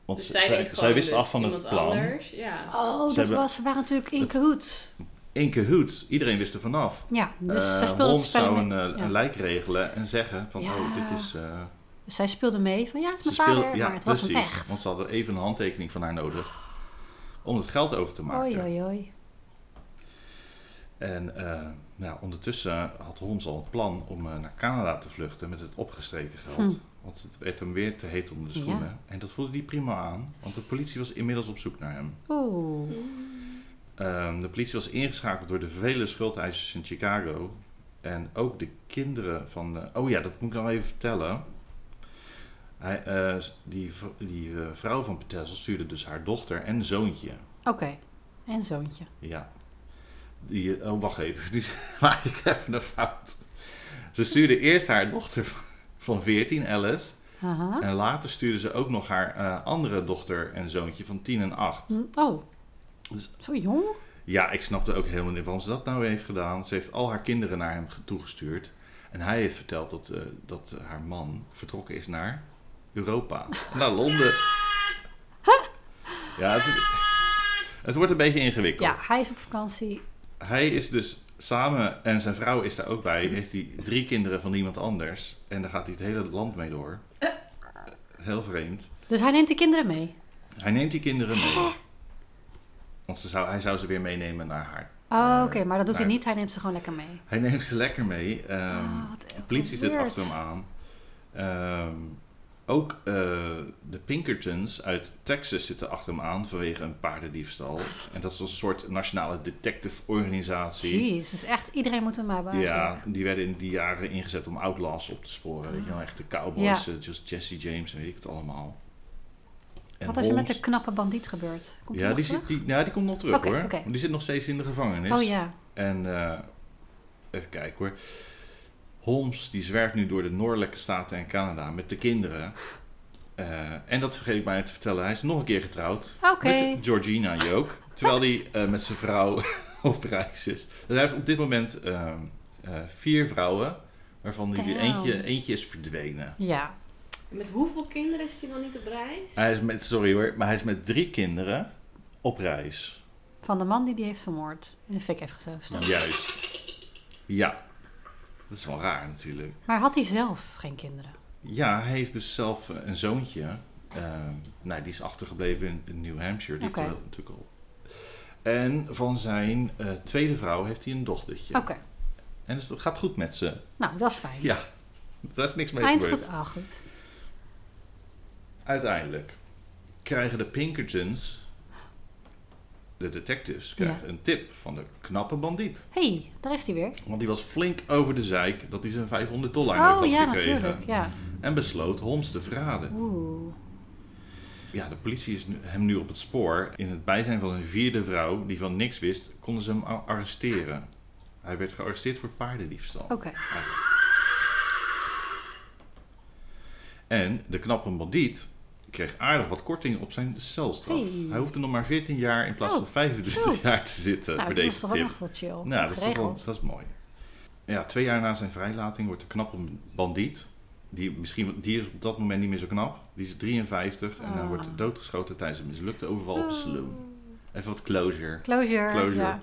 B: Want
C: Dus
B: ze-
C: zij,
B: zij,
C: denkt
B: zij
C: gewoon
B: wist
C: dat
B: af van het
C: iemand
B: plan.
C: Anders, ja.
A: oh, dat
B: hebben-
A: was, ze waren natuurlijk in
B: dat-
A: cahoots.
B: In cahoots. Iedereen wist er vanaf.
A: Ja, dus
B: Eh,
A: zij speelde
B: Holmes
A: het spel
B: zou
A: mee.
B: een, eh,
A: ja.
B: een lijk regelen en zeggen van,
A: Ja.
B: oh, dit is... eh,
A: Dus zij speelde mee van ja, het is
B: ze
A: mijn
B: speelde-
A: vader, maar het was hem echt.
B: Want ze hadden even een handtekening van haar nodig om het geld over te maken.
A: Oei, oei, oei.
B: En eh, nou, ondertussen had Holmes al een plan om eh, naar Canada te vluchten met het opgestreken geld.
A: Hm.
B: Want het werd hem weer te heet onder de schoenen. En dat voelde hij prima aan, want de politie was inmiddels op zoek naar hem.
A: Oeh.
B: Ehm, de politie was ingeschakeld door de vele schuldeisers in Chicago. En ook de kinderen van. de- oh ja, dat moet ik nog even vertellen. Hij, eh, die v- die eh, vrouw van Petessel stuurde dus haar dochter en zoontje.
A: Oké. En zoontje.
B: Ja. Die, eh, oh, wacht even. Nu maak ik even een fout. Ze stuurde eerst haar dochter van 14, Alice.
A: Aha.
B: En later stuurde ze ook nog haar eh, andere dochter en zoontje van 10 en 8.
A: Hm, Oh.
B: Dus-
A: Zo jong?
B: Ja, ik snapte ook helemaal niet waarom ze dat nou heeft gedaan. Ze heeft al haar kinderen naar hem ge- toegestuurd. En hij heeft verteld dat, eh, dat eh, haar man vertrokken is naar Europa. Naar Londen. Ja, het, het wordt een beetje ingewikkeld.
A: Ja, hij is op vakantie.
B: Hij is dus samen, en zijn vrouw is daar ook bij, heeft hij drie kinderen van iemand anders. En daar gaat hij het hele land mee door. Heel vreemd.
A: Dus hij neemt de kinderen mee.
B: Hij neemt die kinderen mee. Want ze zou, hij zou ze weer meenemen naar haar
A: Oh,
B: Eh,
A: oké, maar dat doet hij
B: maar-
A: niet. Hij neemt ze gewoon lekker mee.
B: Hij neemt ze lekker mee. Ehm,
A: Ah, wat
B: de politie zit
A: weird.
B: achter hem aan. Ehm, ook eh, de Pinkertons uit Texas zitten achter hem aan vanwege een paardendiefstal. En dat is een soort nationale detective-organisatie.
A: Jeez, dus echt iedereen moet hem hebben.
B: Ja,
A: eigenlijk.
B: die werden in die jaren ingezet om outlaws op te sporen. Weet je wel, echte cowboys, eh, just Jesse James en weet ik het allemaal. En
A: Wat is er met de
B: Holmes-
A: knappe bandiet gebeurd? Komt hij
B: ja,
A: nog
B: die,
A: terug?
B: zit, die, ja, die komt nog terug
A: Oké,
B: hoor.
A: oké.
B: Want Die zit nog steeds in de gevangenis.
A: Oh ja.
B: En eh, even kijken hoor. Holmes die zwerft nu door de noordelijke staten en Canada met de kinderen. Eh, en dat vergeet ik bijna te vertellen. Hij is nog een keer getrouwd.
A: Oké.
B: Met Georgina Jook. Terwijl hij eh, met zijn vrouw op reis is. Dus hij heeft op dit moment ehm, eh, vier vrouwen. Waarvan die die
A: Damn.
B: eentje, eentje is verdwenen.
A: Ja.
C: Met hoeveel kinderen is hij dan niet op reis?
B: Hij is met, sorry hoor, maar hij is met drie kinderen op reis.
A: Van de man die die heeft vermoord. In de fik heeft gezogen.
B: Juist. Ja. Dat is wel raar natuurlijk.
A: Maar had hij zelf geen kinderen?
B: Ja, hij heeft dus zelf eh, een zoontje. Ehm, nou, die is achtergebleven in, in New Hampshire. Die
A: Oké.
B: heeft er wel- natuurlijk al. En van zijn eh, tweede vrouw heeft hij een dochtertje.
A: Oké.
B: En dus dat gaat goed met ze.
A: Nou, dat is fijn.
B: Ja, daar is niks mee
A: Eind
B: gebeurd.
A: goed, ah goed.
B: Uiteindelijk krijgen de Pinkertons, de detectives, krijgen een tip van de knappe bandiet.
A: hey, daar is hij weer.
B: Want die was flink over de zeik dat hij zijn 500 dollar nooit
A: Oh
B: had
A: ja,
B: gekregen. Mm.
A: natuurlijk. Ja.
B: En besloot Holmes te verraden.
A: Oeh.
B: Ja, de politie is nu- hem nu op het spoor. In het bijzijn van zijn vierde vrouw, die van niks wist, konden ze hem a- arresteren. Hij werd gearresteerd voor paardendiefstal.
A: Oké. Nou,
B: En de knappe bandiet kreeg aardig wat korting op zijn celstraf.
A: Hey.
B: Hij hoefde nog maar 14 jaar in plaats
A: Oh,
B: van 25
A: zo.
B: jaar te zitten
A: Nou,
B: voor
A: dat is
B: deze
A: toch wel
B: tip.
A: echt wel chill.
B: Nou, dat is, toch wel,
A: Geregeld.
B: dat is mooi. Ja, twee jaar na zijn vrijlating wordt de knappe bandiet, die, misschien, die is op dat moment niet meer zo knap, die is 53 en dan
A: Ah.
B: wordt doodgeschoten tijdens een mislukte overval op een saloon. Even wat closure.
A: Closure.
B: Closure.
A: Ja.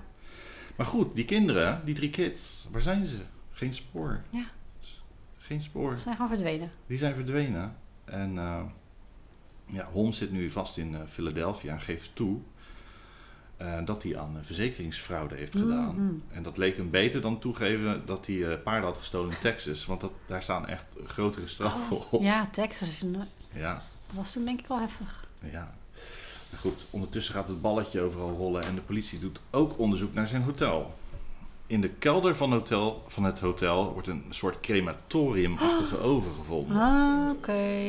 B: Maar goed, die kinderen, die drie kids, waar zijn ze? Geen spoor.
A: Ja.
B: Geen spoor.
A: Ze zijn gewoon verdwenen.
B: Die zijn verdwenen. En eh, ja, Holmes zit nu vast in eh, Philadelphia en geeft toe eh, dat hij aan eh, verzekeringsfraude heeft gedaan.
A: Mhm.
B: En dat leek hem beter dan toegeven dat hij eh, paarden had gestolen in Texas. Want dat, daar staan echt grotere straffen op.
A: Oh, Ja, Texas is een-
B: Ja.
A: dat was toen denk ik wel heftig.
B: Ja. Maar Goed, ondertussen gaat het balletje overal rollen en de politie doet ook onderzoek naar zijn hotel. In de kelder van, hotel, van het hotel wordt een soort crematoriumachtige oven gevonden.
A: Ah, oké.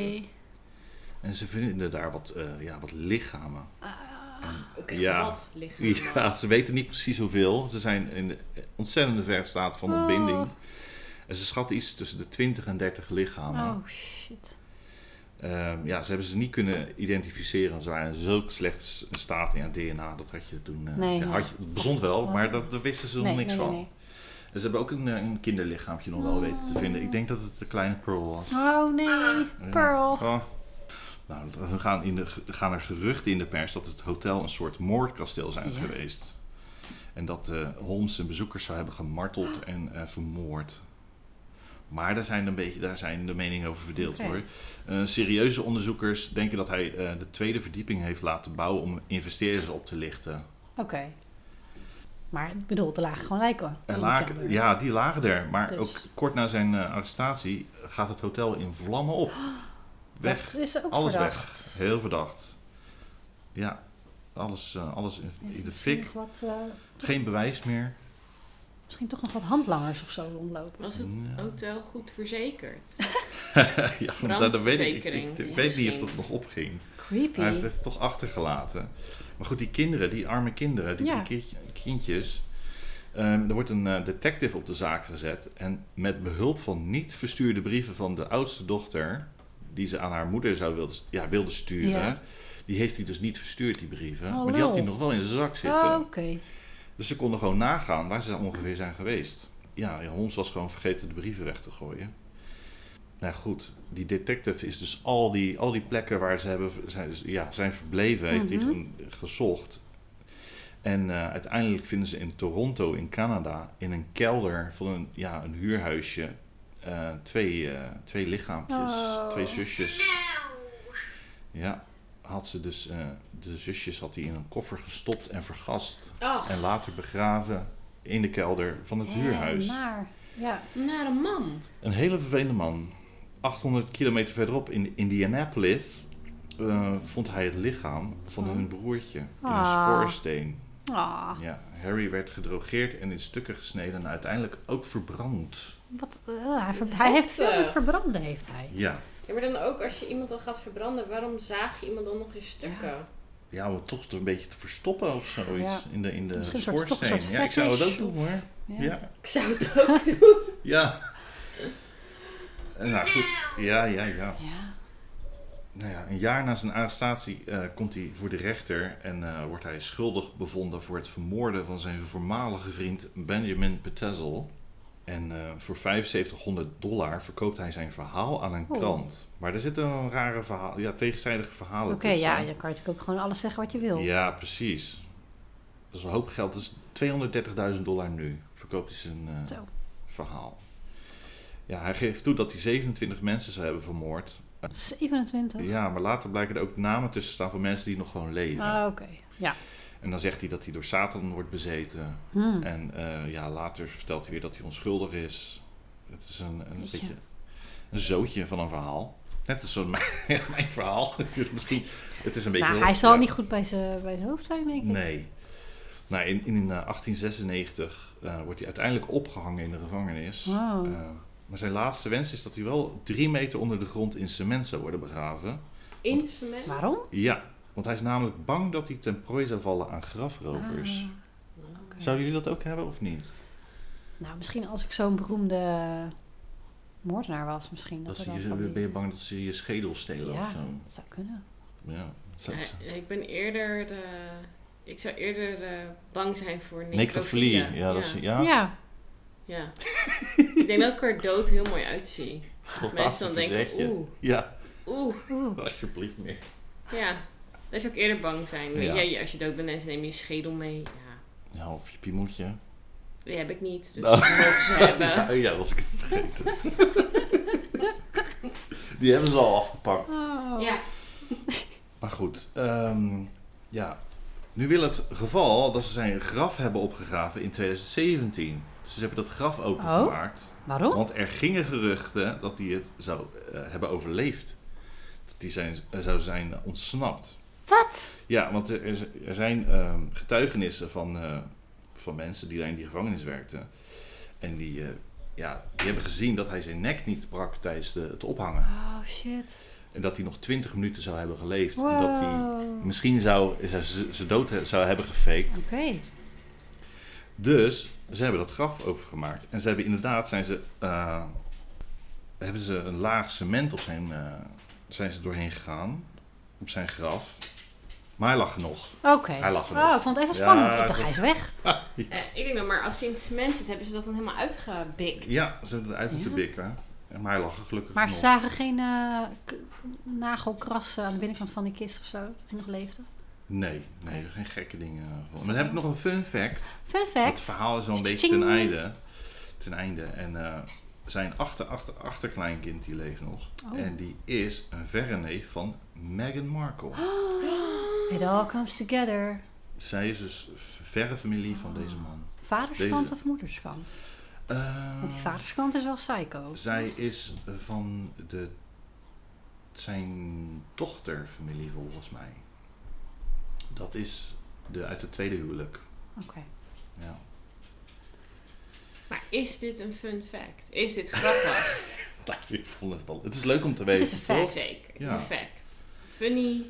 B: En ze vinden daar wat, eh, ja, wat lichamen.
A: Ah,
C: Ook echt
B: Ja.
C: wat lichaam.
B: Ja, ze weten niet precies hoeveel. Ze zijn in de ontzettende ver staat van
A: Oh.
B: ontbinding. En ze schatten iets tussen de 20 en 30 lichamen.
A: Oh, shit.
B: Ehm, ja, ze hebben ze niet kunnen identificeren. Ze waren in zulk slechte s- staat in ja, DNA. Dat had je toen. eh,
A: Nee,
B: ja,
A: nee.
B: had je, het bestond wel, maar dat, daar wisten ze nog niks van. En ze hebben ook een, eh, een kinderlichaampje nog
A: Ah.
B: wel weten te vinden. Ik denk dat het de kleine Pearl was.
A: Oh, nee.
B: Ja.
A: Pearl.
B: Oh. Nou, er gaan, in de, gaan er geruchten in de pers dat het hotel een soort moordkasteel zijn
A: Ja.
B: geweest. En dat eh, Holmes zijn bezoekers zou hebben gemarteld en eh, vermoord. Maar daar zijn, een beetje, daar zijn de meningen over verdeeld
A: Oké.
B: hoor. Eh, serieuze onderzoekers denken dat hij eh, de tweede verdieping heeft laten bouwen om investeerders op te lichten.
A: Oké. Maar ik bedoel, er lagen gewoon lijken. in
B: Er
A: Oh, die
B: lagen,
A: kelder.
B: ja, die lagen er. Maar
A: Dus.
B: ook kort na zijn eh, arrestatie gaat het hotel in vlammen
A: Oh,
B: op. Weg.
A: Dat is ook
B: Alles
A: verdacht.
B: weg. Heel verdacht. Ja, alles, eh, alles in,
A: Heeft
B: in de
A: misschien
B: fik.
A: nog Wat, eh,
B: Geen bewijs meer.
A: misschien toch nog wat handlangers of zo rondlopen.
C: Was het
B: Ja.
C: hotel goed verzekerd?
B: ja, want dat- dat weet ik, ik, ik, weet
C: Brandverzekering. Ja,
B: niet of
C: misschien.
B: dat nog opging.
A: Creepy.
B: Hij heeft het toch achtergelaten. Maar goed, die kinderen, die arme kinderen, die
A: Ja.
B: drie kindje- kindjes. ehm, er wordt een eh, detective op de zaak gezet. En met behulp van niet verstuurde brieven van de oudste dochter, die ze aan haar moeder zou wilde, ja, wilde sturen,
A: Ja.
B: die heeft hij dus niet verstuurd, die brieven.
A: Oh,
B: maar die had hij
A: lul.
B: nog wel in zijn zak zitten.
A: Oh, oké.
B: Dus ze konden gewoon nagaan waar ze ongeveer zijn geweest. Ja, ja, Holmes was gewoon vergeten de brieven weg te gooien. Nou goed, die detective is dus al die, al die plekken waar ze hebben, zijn, dus- ja, zijn verbleven, heeft hij
A: Mhm.
B: gewoon gezocht. En eh, uiteindelijk vinden ze in Toronto, in Canada, in een kelder van een, ja, een huurhuisje, eh, twee, eh, twee lichaampjes,
A: Oh.
B: twee zusjes.
D: No.
B: Ja, had ze dus, eh, de zusjes had hij in een koffer gestopt en vergast.
C: Ach,
B: En later begraven in de kelder van het
A: Ja,
B: huurhuis.
A: Maar, ja.
C: naar een man.
B: Een hele vervelende man. 800 kilometer verderop in Indianapolis eh, vond hij het lichaam van hun broertje in een
A: Oh. Ah.
B: schoorsteen.
A: Ah,
B: Ja, Harry werd gedrogeerd en in stukken gesneden en uiteindelijk ook verbrand.
A: wat, eh, hij, ver-
C: Het
A: hij heeft
C: heeft,
A: veel met
C: eh,
A: verbranden, heeft hij.
B: Ja,
C: Ja, maar dan ook als je iemand dan gaat verbranden, waarom zaag je iemand dan nog in stukken?
B: ja om het toch een beetje te verstoppen of zoiets in de, in de
A: Misschien een soort- toch een
B: schoorsteen.
A: soort
B: Ja, ik zou het ook
A: fetish
B: doen hoor.
A: Ja.
B: Ja.
C: Ik zou het ook doen.
B: ja. Nou goed, ja, ja, ja.
A: Ja.
B: Nou ja, een jaar na zijn arrestatie eh, komt hij voor de rechter en eh, wordt hij schuldig bevonden voor het vermoorden van zijn voormalige vriend Benjamin Petzel. En eh, voor 7500 dollar verkoopt hij zijn verhaal aan een
A: Oeh.
B: krant. Maar er zitten een rare verhaal, ja, tegenstrijdige verhalen
A: Oké,
B: tussen.
A: ja, dan kan je natuurlijk ook gewoon alles zeggen wat je wil.
B: eh, Ja, precies. Dat is een hoop geld. Dus 230.000 dollar nu verkoopt hij zijn eh,
A: Zo.
B: verhaal. Ja, hij geeft toe dat hij 27 mensen zou hebben vermoord.
A: 27.
B: Ja, maar later blijken er ook namen tussen staan van mensen die nog gewoon leven.
A: Ah, oké. Ja.
B: En dan zegt hij dat hij door Satan wordt bezeten.
A: Hmm.
B: En eh, ja, later vertelt hij weer dat hij onschuldig is. Het is een, een
A: Jeetje.
B: beetje een zootje van een verhaal. Net als zo'n mijn, mijn verhaal. Dus misschien, het is een beetje...
A: Nou, hij zal
B: ja.
A: niet goed bij zijn bij zijn hoofd zijn, denk ik.
B: Nee. Nou, in, in eh, 1896 eh, wordt hij uiteindelijk opgehangen in de gevangenis.
A: Wow.
B: Eh, maar zijn laatste wens is dat hij wel drie meter onder de grond in cement zou worden begraven.
C: In cement.
A: Waarom?
B: Ja, want hij is namelijk bang dat hij ten prooi zou vallen aan grafrovers.
A: Ah, oké.
B: Zouden jullie dat ook hebben of niet?
A: Nou, misschien als ik zo'n beroemde moordenaar was, misschien.
B: Dat
A: Dat,
B: ze
A: er dan
B: je,
A: van die-
B: ben je bang dat ze je schedel stelen
A: Ja.
B: of zo?
A: Dat zou kunnen.
B: Ja. Dat zou-
C: Nee, ik ben eerder de... Ik zou eerder eh, bang zijn voor necrofilie.
B: Necrofilie, ja, dat is, ja.
A: Ja.
C: Ja. ik denk dat ik er dood heel mooi uitzie.
B: dat laatste
C: Mensen dan denken,
B: verzetje.
C: oeh,
B: Ja,
C: oeh.
A: Oeh.
B: alsjeblieft nee.
C: Ja, daar zou ik eerder bang zijn. Weet
B: Ja.
C: jij, als je dood bent, mensen nemen je schedel mee. Ja,
B: Ja, of je piemoetje.
C: die heb ik niet, dus
B: Nou.
C: die mogen ze hebben.
B: Oh ja, dat was ik even vergeten. Die hebben ze al afgepakt.
A: Oh.
C: Ja,
B: Maar goed, ehm, ja. Nu wil het geval dat ze zijn graf hebben opgegraven in 2017. Dus ze hebben dat graf
A: Oh.
B: opengemaakt.
A: Waarom?
B: Want er gingen geruchten dat hij het zou eh, hebben overleefd. Dat hij zijn, eh, zou zijn ontsnapt.
A: Wat?
B: Ja, want er, er z- er zijn ehm, getuigenissen van, eh, van mensen die daar in die gevangenis werkten. En die, eh, ja, die hebben gezien dat hij zijn nek niet brak tijdens de, het ophangen.
A: Oh shit.
B: En dat hij nog 20 minuten zou hebben geleefd. En dat hij
A: Wow. Oké.
B: misschien zou, ze- ze, ze dood he- zou hebben gefaked. Dus ze hebben dat graf overgemaakt. En ze hebben inderdaad zijn ze, eh, hebben ze een laag cement op zijn, eh, zijn ze doorheen gegaan. Op zijn graf. Maar hij lag er nog.
A: Oké.
B: Hij lag er nog.
A: Oh, ik vond het even
B: Ja,
A: spannend. Ik
B: het
A: dacht,
B: was-
A: hij is weg.
C: Eh, ik denk dat, maar als ze in het cement zit, hebben ze dat dan helemaal uitgebikt.
B: Ja, ze hebben het uit moeten
A: Ja.
B: bikken. En Maar hij lag er gelukkig
A: Maar ze
B: nog.
A: zagen geen eh, k- nagelkrassen aan de binnenkant van die kist of zo. Dat hij nog leefde.
B: Nee, nee, geen gekke dingen. Maar dan heb ik nog een fun fact.
A: Fun
B: Het
A: fact.
B: verhaal is wel een beetje
A: Tjing.
B: ten einde. Ten einde. En eh, zijn achter, achter, achterkleinkind die leeft nog.
A: Oh.
B: En die is een verre neef van Meghan Markle.
A: It all comes together.
B: Zij is dus v- verre familie van deze man.
A: Vaderskant
B: Deze.
A: of moederskant?
B: Eh,
A: Want die vaderskant is wel psycho.
B: Zij is eh, van de, zijn dochterfamilie volgens mij. Dat is de, uit het tweede huwelijk.
A: Oké.
B: Ja.
C: Maar is dit een fun fact? Is dit grappig?
B: Nou, ik vond het wel. Het is leuk om te
A: Het
B: weten.
A: is een fact.
B: toch?
C: Zeker. Het
B: Ja.
C: is een fact. Funny.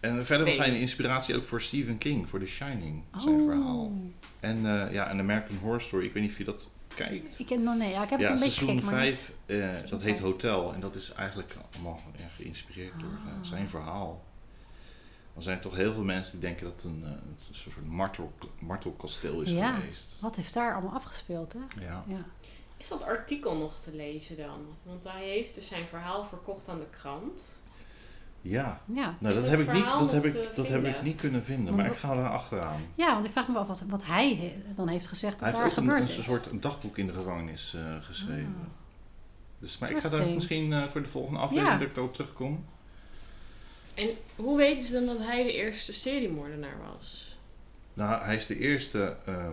B: En verder was
C: Nee.
B: hij een inspiratie ook voor Stephen King, voor The Shining, zijn
A: Oh.
B: verhaal. En eh, ja, een American Horror Story, ik weet niet of je dat kijkt.
A: Ik heb nog nee. Ja, ik heb
B: ja,
A: het een beetje
B: seizoen
A: gekeken, maar niet-
B: 5, eh, dat heet
A: vijf.
B: Hotel. En dat is eigenlijk allemaal ja, geïnspireerd door
A: Ah.
B: eh, zijn verhaal. Er zijn toch heel veel mensen die denken dat het een, eh, een soort martel, martelkasteel is
A: Ja.
B: geweest.
A: Wat heeft daar allemaal afgespeeld, hè?
B: Ja.
A: Ja.
C: Is dat artikel nog te lezen dan? Want hij heeft dus zijn verhaal verkocht aan de krant.
B: ja.
A: Ja.
B: Nou, dat,
C: Is dat
B: heb, ik niet,
C: verhaal
B: dat, heb,
C: nog te
B: ik, dat heb
C: vinden?
B: ik niet kunnen vinden,
A: Maar
B: maar
A: wat-
B: ik ga er achteraan.
A: ja, want ik vraag me wel af wat, wat hij he- dan heeft gezegd
B: Hij
A: dat daar
B: heeft ook een,
A: gebeurd
B: een
A: is.
B: soort dagboek in de gevangenis eh, geschreven.
A: Ah.
B: Dus, maar ik ga daar
A: Interesting.
B: misschien eh, voor de volgende aflevering
A: Ja.
B: dat ik daarop terugkom.
C: En hoe weten ze dan dat hij de eerste seriemoordenaar was?
B: Nou, hij is de eerste eh,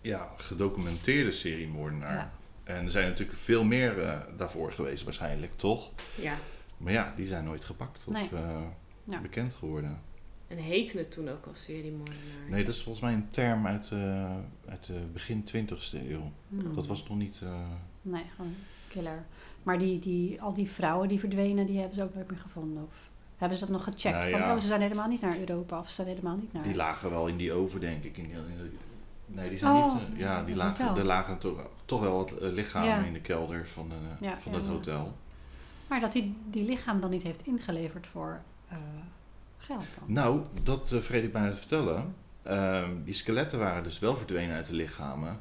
B: ja, gedocumenteerde seriemoordenaar.
A: Ja.
B: En er zijn natuurlijk veel meer eh, daarvoor geweest waarschijnlijk, toch?
C: Ja.
B: Maar ja, die zijn nooit gepakt of
A: Nee.
B: eh,
A: Ja.
B: bekend geworden.
C: En heette het toen ook al seriemoordenaar?
B: Nee, dat is volgens mij een term uit, eh, uit de begin 20e eeuw.
A: Hmm.
B: Dat was nog niet... eh,
A: Nee, gewoon killer. Maar die, die, al die vrouwen die verdwenen, die hebben ze ook nooit meer gevonden. Of hebben ze dat nog gecheckt?
B: Nou
A: Van,
B: ja.
A: oh, ze zijn helemaal niet naar Europa of ze zijn helemaal niet naar...
B: Die lagen wel in die oven, denk ik. In die- in die- nee, die zijn
A: Oh,
B: niet. eh, ja, die
A: dat
B: lagen,
A: hotel.
B: er lagen toch, toch wel wat eh, lichamen
A: Ja.
B: in de kelder van, eh,
A: Ja,
B: van
A: ja,
B: dat
A: ja.
B: hotel.
A: Maar dat hij die lichaam dan niet heeft ingeleverd voor eh, geld dan.
B: Nou, dat eh vergeet ik bijna te vertellen. Ehm, die skeletten waren dus wel verdwenen uit de lichamen.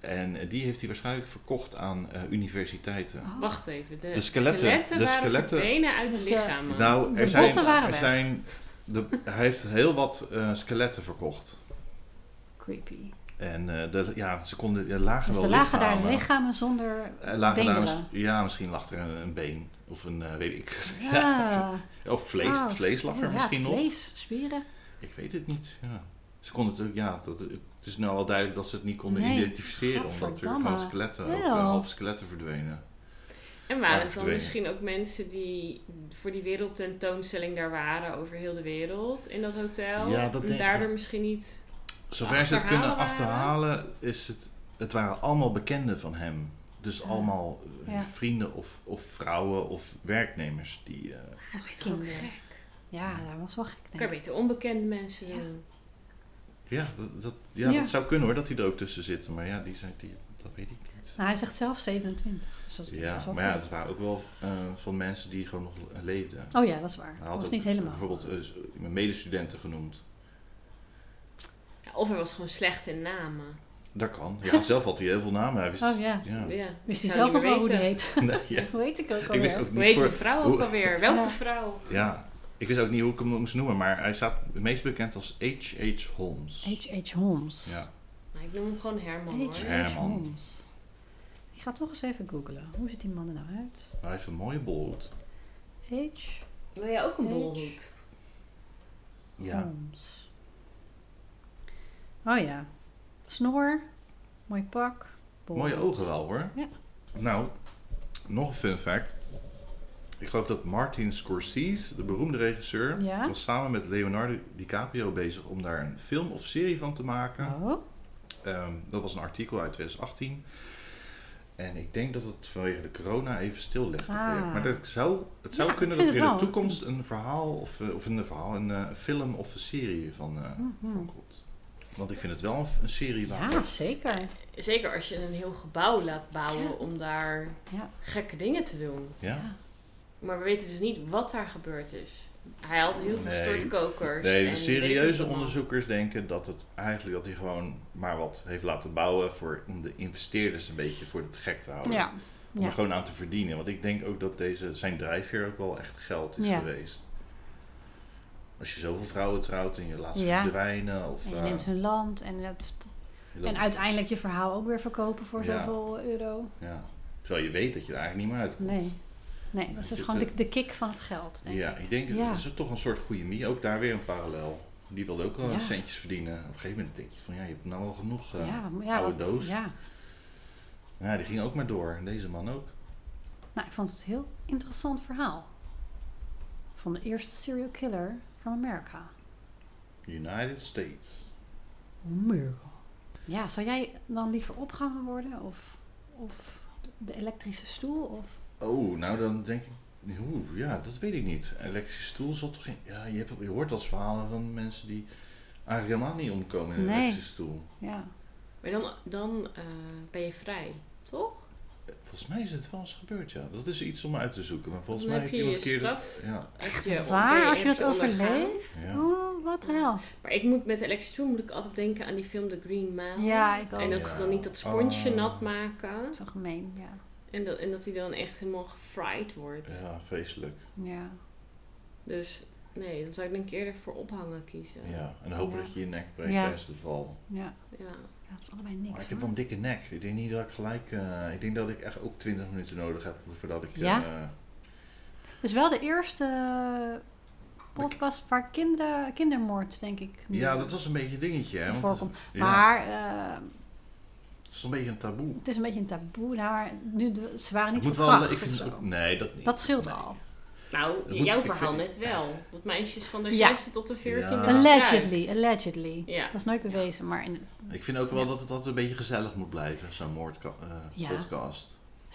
B: En eh, die heeft hij waarschijnlijk verkocht aan eh, universiteiten.
A: Oh.
C: Wacht even. De,
B: De skeletten. De
C: waren
B: skeletten.
C: verdwenen uit de
A: Dus de-
C: lichamen.
B: Nou,
A: De
B: er zijn.
A: botten waren
B: Er
A: weg.
B: zijn de, hij heeft heel wat eh, skeletten verkocht.
A: Creepy. En
B: En eh, de, ja, ze konden, er lagen
A: dus
B: wel
A: er lagen
B: lichamen.
A: daar lichamen zonder...
B: Er lagen daar
A: Beenderen.
B: mis- ja, misschien lag er een, een been. Of een, eh, weet ik.
A: Ja.
B: Of vlees.
A: Oh.
B: Het vlees lag er
A: Ja,
B: misschien nog.
A: vlees, spieren.
B: Ik weet het niet. Ja. Ze konden het ook, ja, dat, het is nu al duidelijk dat ze het niet konden
A: Nee,
B: identificeren. Omdat er
A: gadverdamme.
B: gewoon skeletten, ook, eh,
A: Wel.
B: halve skeletten verdwenen.
C: en
B: waren
C: waren het dan
B: verdwenen.
C: misschien ook mensen die voor die wereldtentoonstelling daar waren over heel de wereld in dat hotel?
B: Ja, dat
C: en
B: denk-
C: daardoor
B: dat-
C: misschien niet.
B: Zover ze het
C: Achterhalen
B: kunnen
C: waren.
B: achterhalen, is het, het waren allemaal bekenden van hem. Dus allemaal eh,
A: Ja.
B: vrienden of, of vrouwen of werknemers die... eh,
A: Of
C: Het is gewoon
A: kinderen.
C: gek.
A: Ja, dat was wel gek.
C: Ik kan
A: Denk ik.
C: beter onbekende mensen
A: Ja.
C: doen.
B: ja, dat, dat- ja,
A: Ja.
B: dat zou kunnen hoor, dat die er ook tussen zitten. Maar ja, die zijn, die, dat weet ik niet.
A: Nou, hij zegt zelf 27. Dus dat is
B: Ja,
A: best wel
B: maar ja,
A: veel.
B: het waren ook wel eh, van mensen die gewoon nog eh, leefden.
A: Oh ja, dat is waar.
B: Hij
A: Dat
B: had
A: was
B: ook
A: niet helemaal.
B: bijvoorbeeld eh, mijn medestudenten genoemd.
C: Ja, Of hij was gewoon slecht in namen.
B: Dat kan. Ja, zelf had hij heel veel namen. Hij wist,
A: Oh ja.
B: ja.
C: Ja. ik
A: Wist hij
C: zou
A: zelf nog
C: niet meer
A: wel hoe die
C: weten.
A: heet?
B: Nee, ja.
A: Hoe heet ik ook
B: Ik wist
A: alweer?
B: ook
C: Hoe
B: niet
C: heet
B: voor,
C: die vrouw ook
B: hoe-
C: alweer? Welke
A: Ja.
C: vrouw?
B: Ja, ik wist ook niet hoe ik hem moest noemen, maar hij staat het meest bekend als H.H. Holmes.
A: H.H. Holmes.
B: Ja.
C: Nou, ik noem hem gewoon Herman
A: H.H.
C: hoor.
B: Herman.
A: Holmes. Ik ga toch eens even googlen. Hoe ziet die man er nou uit?
B: Hij heeft een mooie bold.
A: H.
C: Wil jij ook een
A: H.
C: bolhoed?
B: Ja.
A: Holmes. Oh ja. Snor. Mooi pak. bol.
B: Mooie ogen wel hoor.
A: Ja.
B: Nou, nog een fun fact. Ik ik geloof dat Martin Scorsese, de beroemde regisseur,
A: Ja.
B: was samen met Leonardo DiCaprio bezig om daar een film of serie van te maken.
A: Oh,
B: Ehm, dat was een artikel uit 2018. En ik denk dat het vanwege de corona even stil ligt. het
A: Ah.
B: project. Maar dat zou, het zou
A: Ja,
B: kunnen
A: ik
B: dat
A: vind
B: er in
A: het
B: de
A: wel.
B: toekomst een verhaal of, eh, of een verhaal, een eh, film of een serie van, eh van komt. Want ik vind het wel een, een serie waar.
A: Mhm. ja, zeker.
C: Zeker als je een heel gebouw laat bouwen om daar
A: Ja.
C: gekke dingen te doen.
B: Ja?
C: Maar we weten dus niet wat daar gebeurd is. Hij had heel veel
B: Nee.
C: stortkokers.
B: Nee, de
C: en weet ik
B: serieuze
C: wat allemaal.
B: onderzoekers denken dat het eigenlijk dat hij gewoon maar wat heeft laten bouwen voor, om de investeerders een beetje voor het gek te houden.
A: Ja.
B: Om
A: Ja.
B: er gewoon aan te verdienen. Want ik denk ook dat deze, zijn drijfveer ook wel echt geld is
A: Ja.
B: geweest. Als je zoveel vrouwen trouwt en je laat ze
A: Ja.
B: verdwijnen. Of,
A: En je
B: eh,
A: neemt hun land en, dat-
B: je laat-
A: en uiteindelijk je verhaal ook weer verkopen voor
B: Ja.
A: zoveel euro.
B: ja. Terwijl je weet dat je er eigenlijk niet meer uitkomt.
A: Nee. Nee, dat is dus
B: Zit
A: gewoon
B: er-
A: de, de kick van het geld. Denk
B: Ja,
A: ik.
B: ik denk
A: Ja.
B: dat is toch een soort goede mie. Ook daar weer een parallel. Die wilde ook wel
A: Ja.
B: centjes verdienen. Op een gegeven moment denk je van ja, je hebt nou al genoeg. eh,
A: ja, maar ja,
B: oude
A: want-
B: doos.
A: Ja.
B: Ja, die ging ook maar door. En deze man ook.
A: Nou, ik vond het een heel interessant verhaal. Van de eerste serial killer van Amerika.
B: United States.
A: Amerika. Ja, zou jij dan liever opgehangen worden? Of, of de elektrische stoel? Of...
B: Oh, nou dan denk ik... Oeh, ja, dat weet ik niet. Een elektrische stoel zal toch geen... Ja, je, hebt, je hoort als verhalen van mensen die eigenlijk helemaal niet omkomen in een
A: Nee.
B: elektrische stoel.
A: Ja.
C: Maar dan, dan eh, ben je vrij, toch?
B: Eh, Volgens mij is het wel eens gebeurd, ja. Dat is iets om uit te zoeken. Maar volgens
C: Dan
B: mij
C: heb
B: heeft
C: je
B: iemand een
C: je
B: keer... dat-
C: straf.
B: Ja,
C: Echt je
A: Waar,
C: ben
A: als je
C: echt
A: dat
C: ondergaan.
A: overleeft?
B: Ja.
A: Oh, wat de hel.
C: Maar ik moet met Alex Toon moet ik altijd denken aan die film The Green Mile.
A: Ja, ik ook.
C: En dat ze dan niet dat sponsje
B: Oh.
C: nat maken.
A: Zo gemeen, ja.
C: En dat, en dat hij dan echt helemaal gefried wordt.
B: ja, vreselijk.
A: Ja.
C: Dus nee, dan zou ik denk ik eerder voor ophangen kiezen.
B: Ja. En hopen
A: Ja.
B: dat je je nek breekt
A: Ja.
B: tijdens de val.
A: Ja,
C: Ja.
A: ja dat is allebei niks.
B: Maar ik heb wel
A: hoor.
B: een dikke nek. Ik denk niet dat ik gelijk... eh, ik denk dat ik echt ook 20 minuten nodig heb voordat ik...
A: Ja?
B: eh,
A: Dus wel de eerste podcast waar kinder, kindermoord, denk ik. nu
B: ja, dat was een beetje een dingetje,
A: in
B: hè. want het-
A: voorkomt.
B: ja.
A: Maar eh,
B: Het is een beetje een taboe.
A: het is een beetje een taboe. Nou, maar nu, de- ze waren
B: Ik
A: niet
B: moet wel,
A: verkracht
B: ik
A: of
B: vind
A: zo.
B: het ook, nee, dat niet.
A: Dat scheelt
B: Nee.
A: al.
C: Nou,
B: moet-
C: jouw
B: ik
C: verhaal
B: vind-
C: net wel. Dat meisjes van de
A: Ja.
C: 6e tot de 14e.
B: Ja.
A: Allegedly, allegedly.
C: Ja.
A: Dat is nooit bewezen, maar in,
B: Ik vind ook wel dat het altijd een beetje gezellig moet blijven, zo'n
A: Ja.
B: moordpodcast.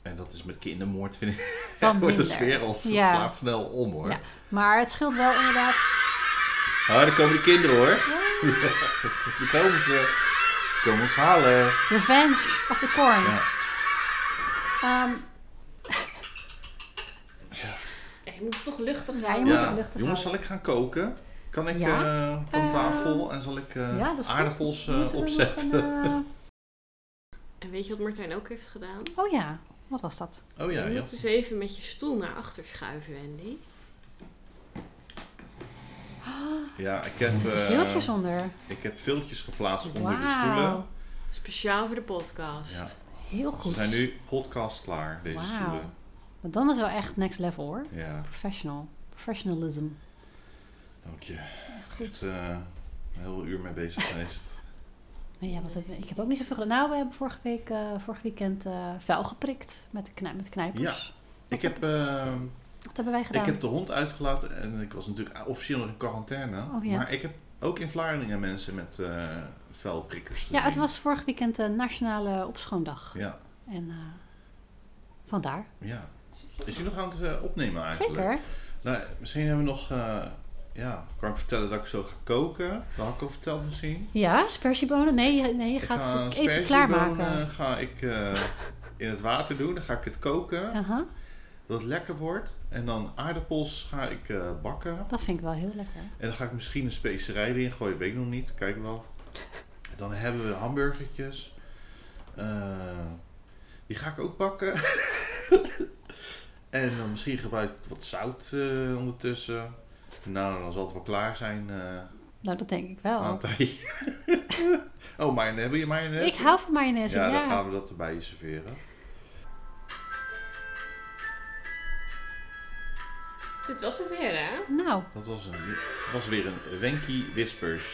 B: En dat is met kindermoord, vind ik.
A: wel
B: Wordt de
A: minder.
B: sfeer al het
A: Ja.
B: slaat snel om hoor.
A: Ja. Maar het scheelt wel inderdaad.
B: Oh, daar komen de kinderen hoor. Die komen ze. Ze komen ons halen.
A: Revenge of the Corn.
B: Ja.
A: Ehm,
C: Ja, je moet het toch luchtig
A: Ja, je
C: houden.
A: moet het luchtig
B: Jongens,
A: houden.
B: zal ik gaan koken? Kan ik
A: Ja.
B: eh, van
A: Eh,
B: tafel en zal ik eh,
A: ja, dat is goed.
B: aardappels eh,
A: moeten we nog
B: opzetten?
A: een, eh,
C: En weet je wat Martijn ook heeft gedaan?
A: oh ja, wat was dat?
B: Oh ja,
C: je
B: ja.
C: moet eens even met je stoel naar achter schuiven, Wendy.
B: ja ik, heb,
A: Er
B: eh,
A: zitten filmpjes onder.
B: ik heb viltjes geplaatst onder de stoelen.
A: Wauw.
C: Speciaal voor de podcast.
B: Ja.
A: Heel goed.
B: Ze zijn nu podcast klaar, deze
A: Wauw.
B: stoelen.
A: Maar dan is wel echt next level hoor.
B: Ja,
A: Professional. Professionalism.
B: dank je.
A: Echt
B: Ik
A: goed.
B: ben eh, een heel uur mee bezig geweest.
A: Nee, ja, wat heb, ik heb ook niet zoveel gedaan. Nou, we hebben vorige week, eh, vorig weekend eh vuil geprikt met, de knij- met knijpers.
B: ik, heb, eh,
A: Wat hebben wij gedaan?
B: ik heb de hond uitgelaten en ik was natuurlijk officieel nog in quarantaine.
A: Oh ja.
B: Maar ik heb ook in Vlaardingen mensen met eh vuilprikkers
A: ja, het
B: gezien.
A: was vorig weekend de Nationale Opschoondag.
B: Ja,
A: En eh, vandaar.
B: ja. Is hij nog aan het eh, opnemen eigenlijk?
A: Zeker.
B: Nou, misschien hebben we nog... eh, ja, kan ik vertellen dat ik zo ga koken? Dat had ik al verteld misschien.
A: Ja, spersiebonen. Nee, je- nee je
B: Ik
A: gaat
B: ga
A: het eten
B: sperziebonen
A: klaarmaken.
B: ga ik eh, in het water doen. Dan ga ik het koken.
A: Aha,
B: Dat het lekker wordt. En dan aardappels ga ik eh, bakken.
A: dat vind ik wel heel lekker.
B: En dan ga ik misschien een specerij erin gooien. Weet ik nog niet. Kijk wel. Dan hebben we hamburgertjes. Eh, die ga ik ook bakken. en dan misschien gebruik ik wat zout eh, ondertussen. Nou, dan zal het wel klaar zijn eh
A: Nou, dat denk ik wel.
B: aan het ei. oh, mayonaise. Heb je mayonaise?
A: Ik hou van mayonaise,
B: Ja,
A: ja.
B: dan gaan we dat erbij serveren.
C: Dit was het weer, hè?
A: Nou,
B: Dat was, een, was weer een Wenky Whispers.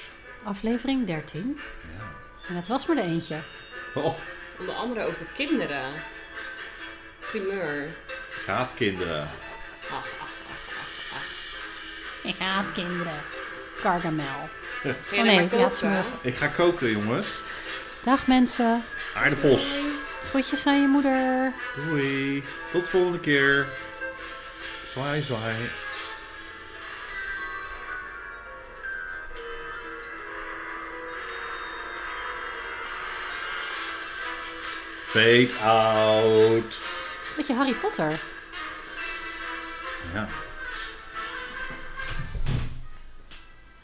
A: aflevering 13.
B: Ja.
A: En dat was maar de eentje.
B: Oh,
C: Onder andere over kinderen. Primeur.
B: gaat kinderen.
A: Ik haat kinderen. Gargamel.
C: Ga je
A: Oh
C: dan
A: nee,
C: maar
A: ik haat
C: koken?
A: smurfen.
B: Ik ga koken, jongens.
A: Dag mensen.
B: Aardappels.
A: Groetjes aan je moeder.
B: Doei. Tot volgende keer. Zwaai, zwaai. Fade out.
A: Beetje Harry Potter.
B: Ja,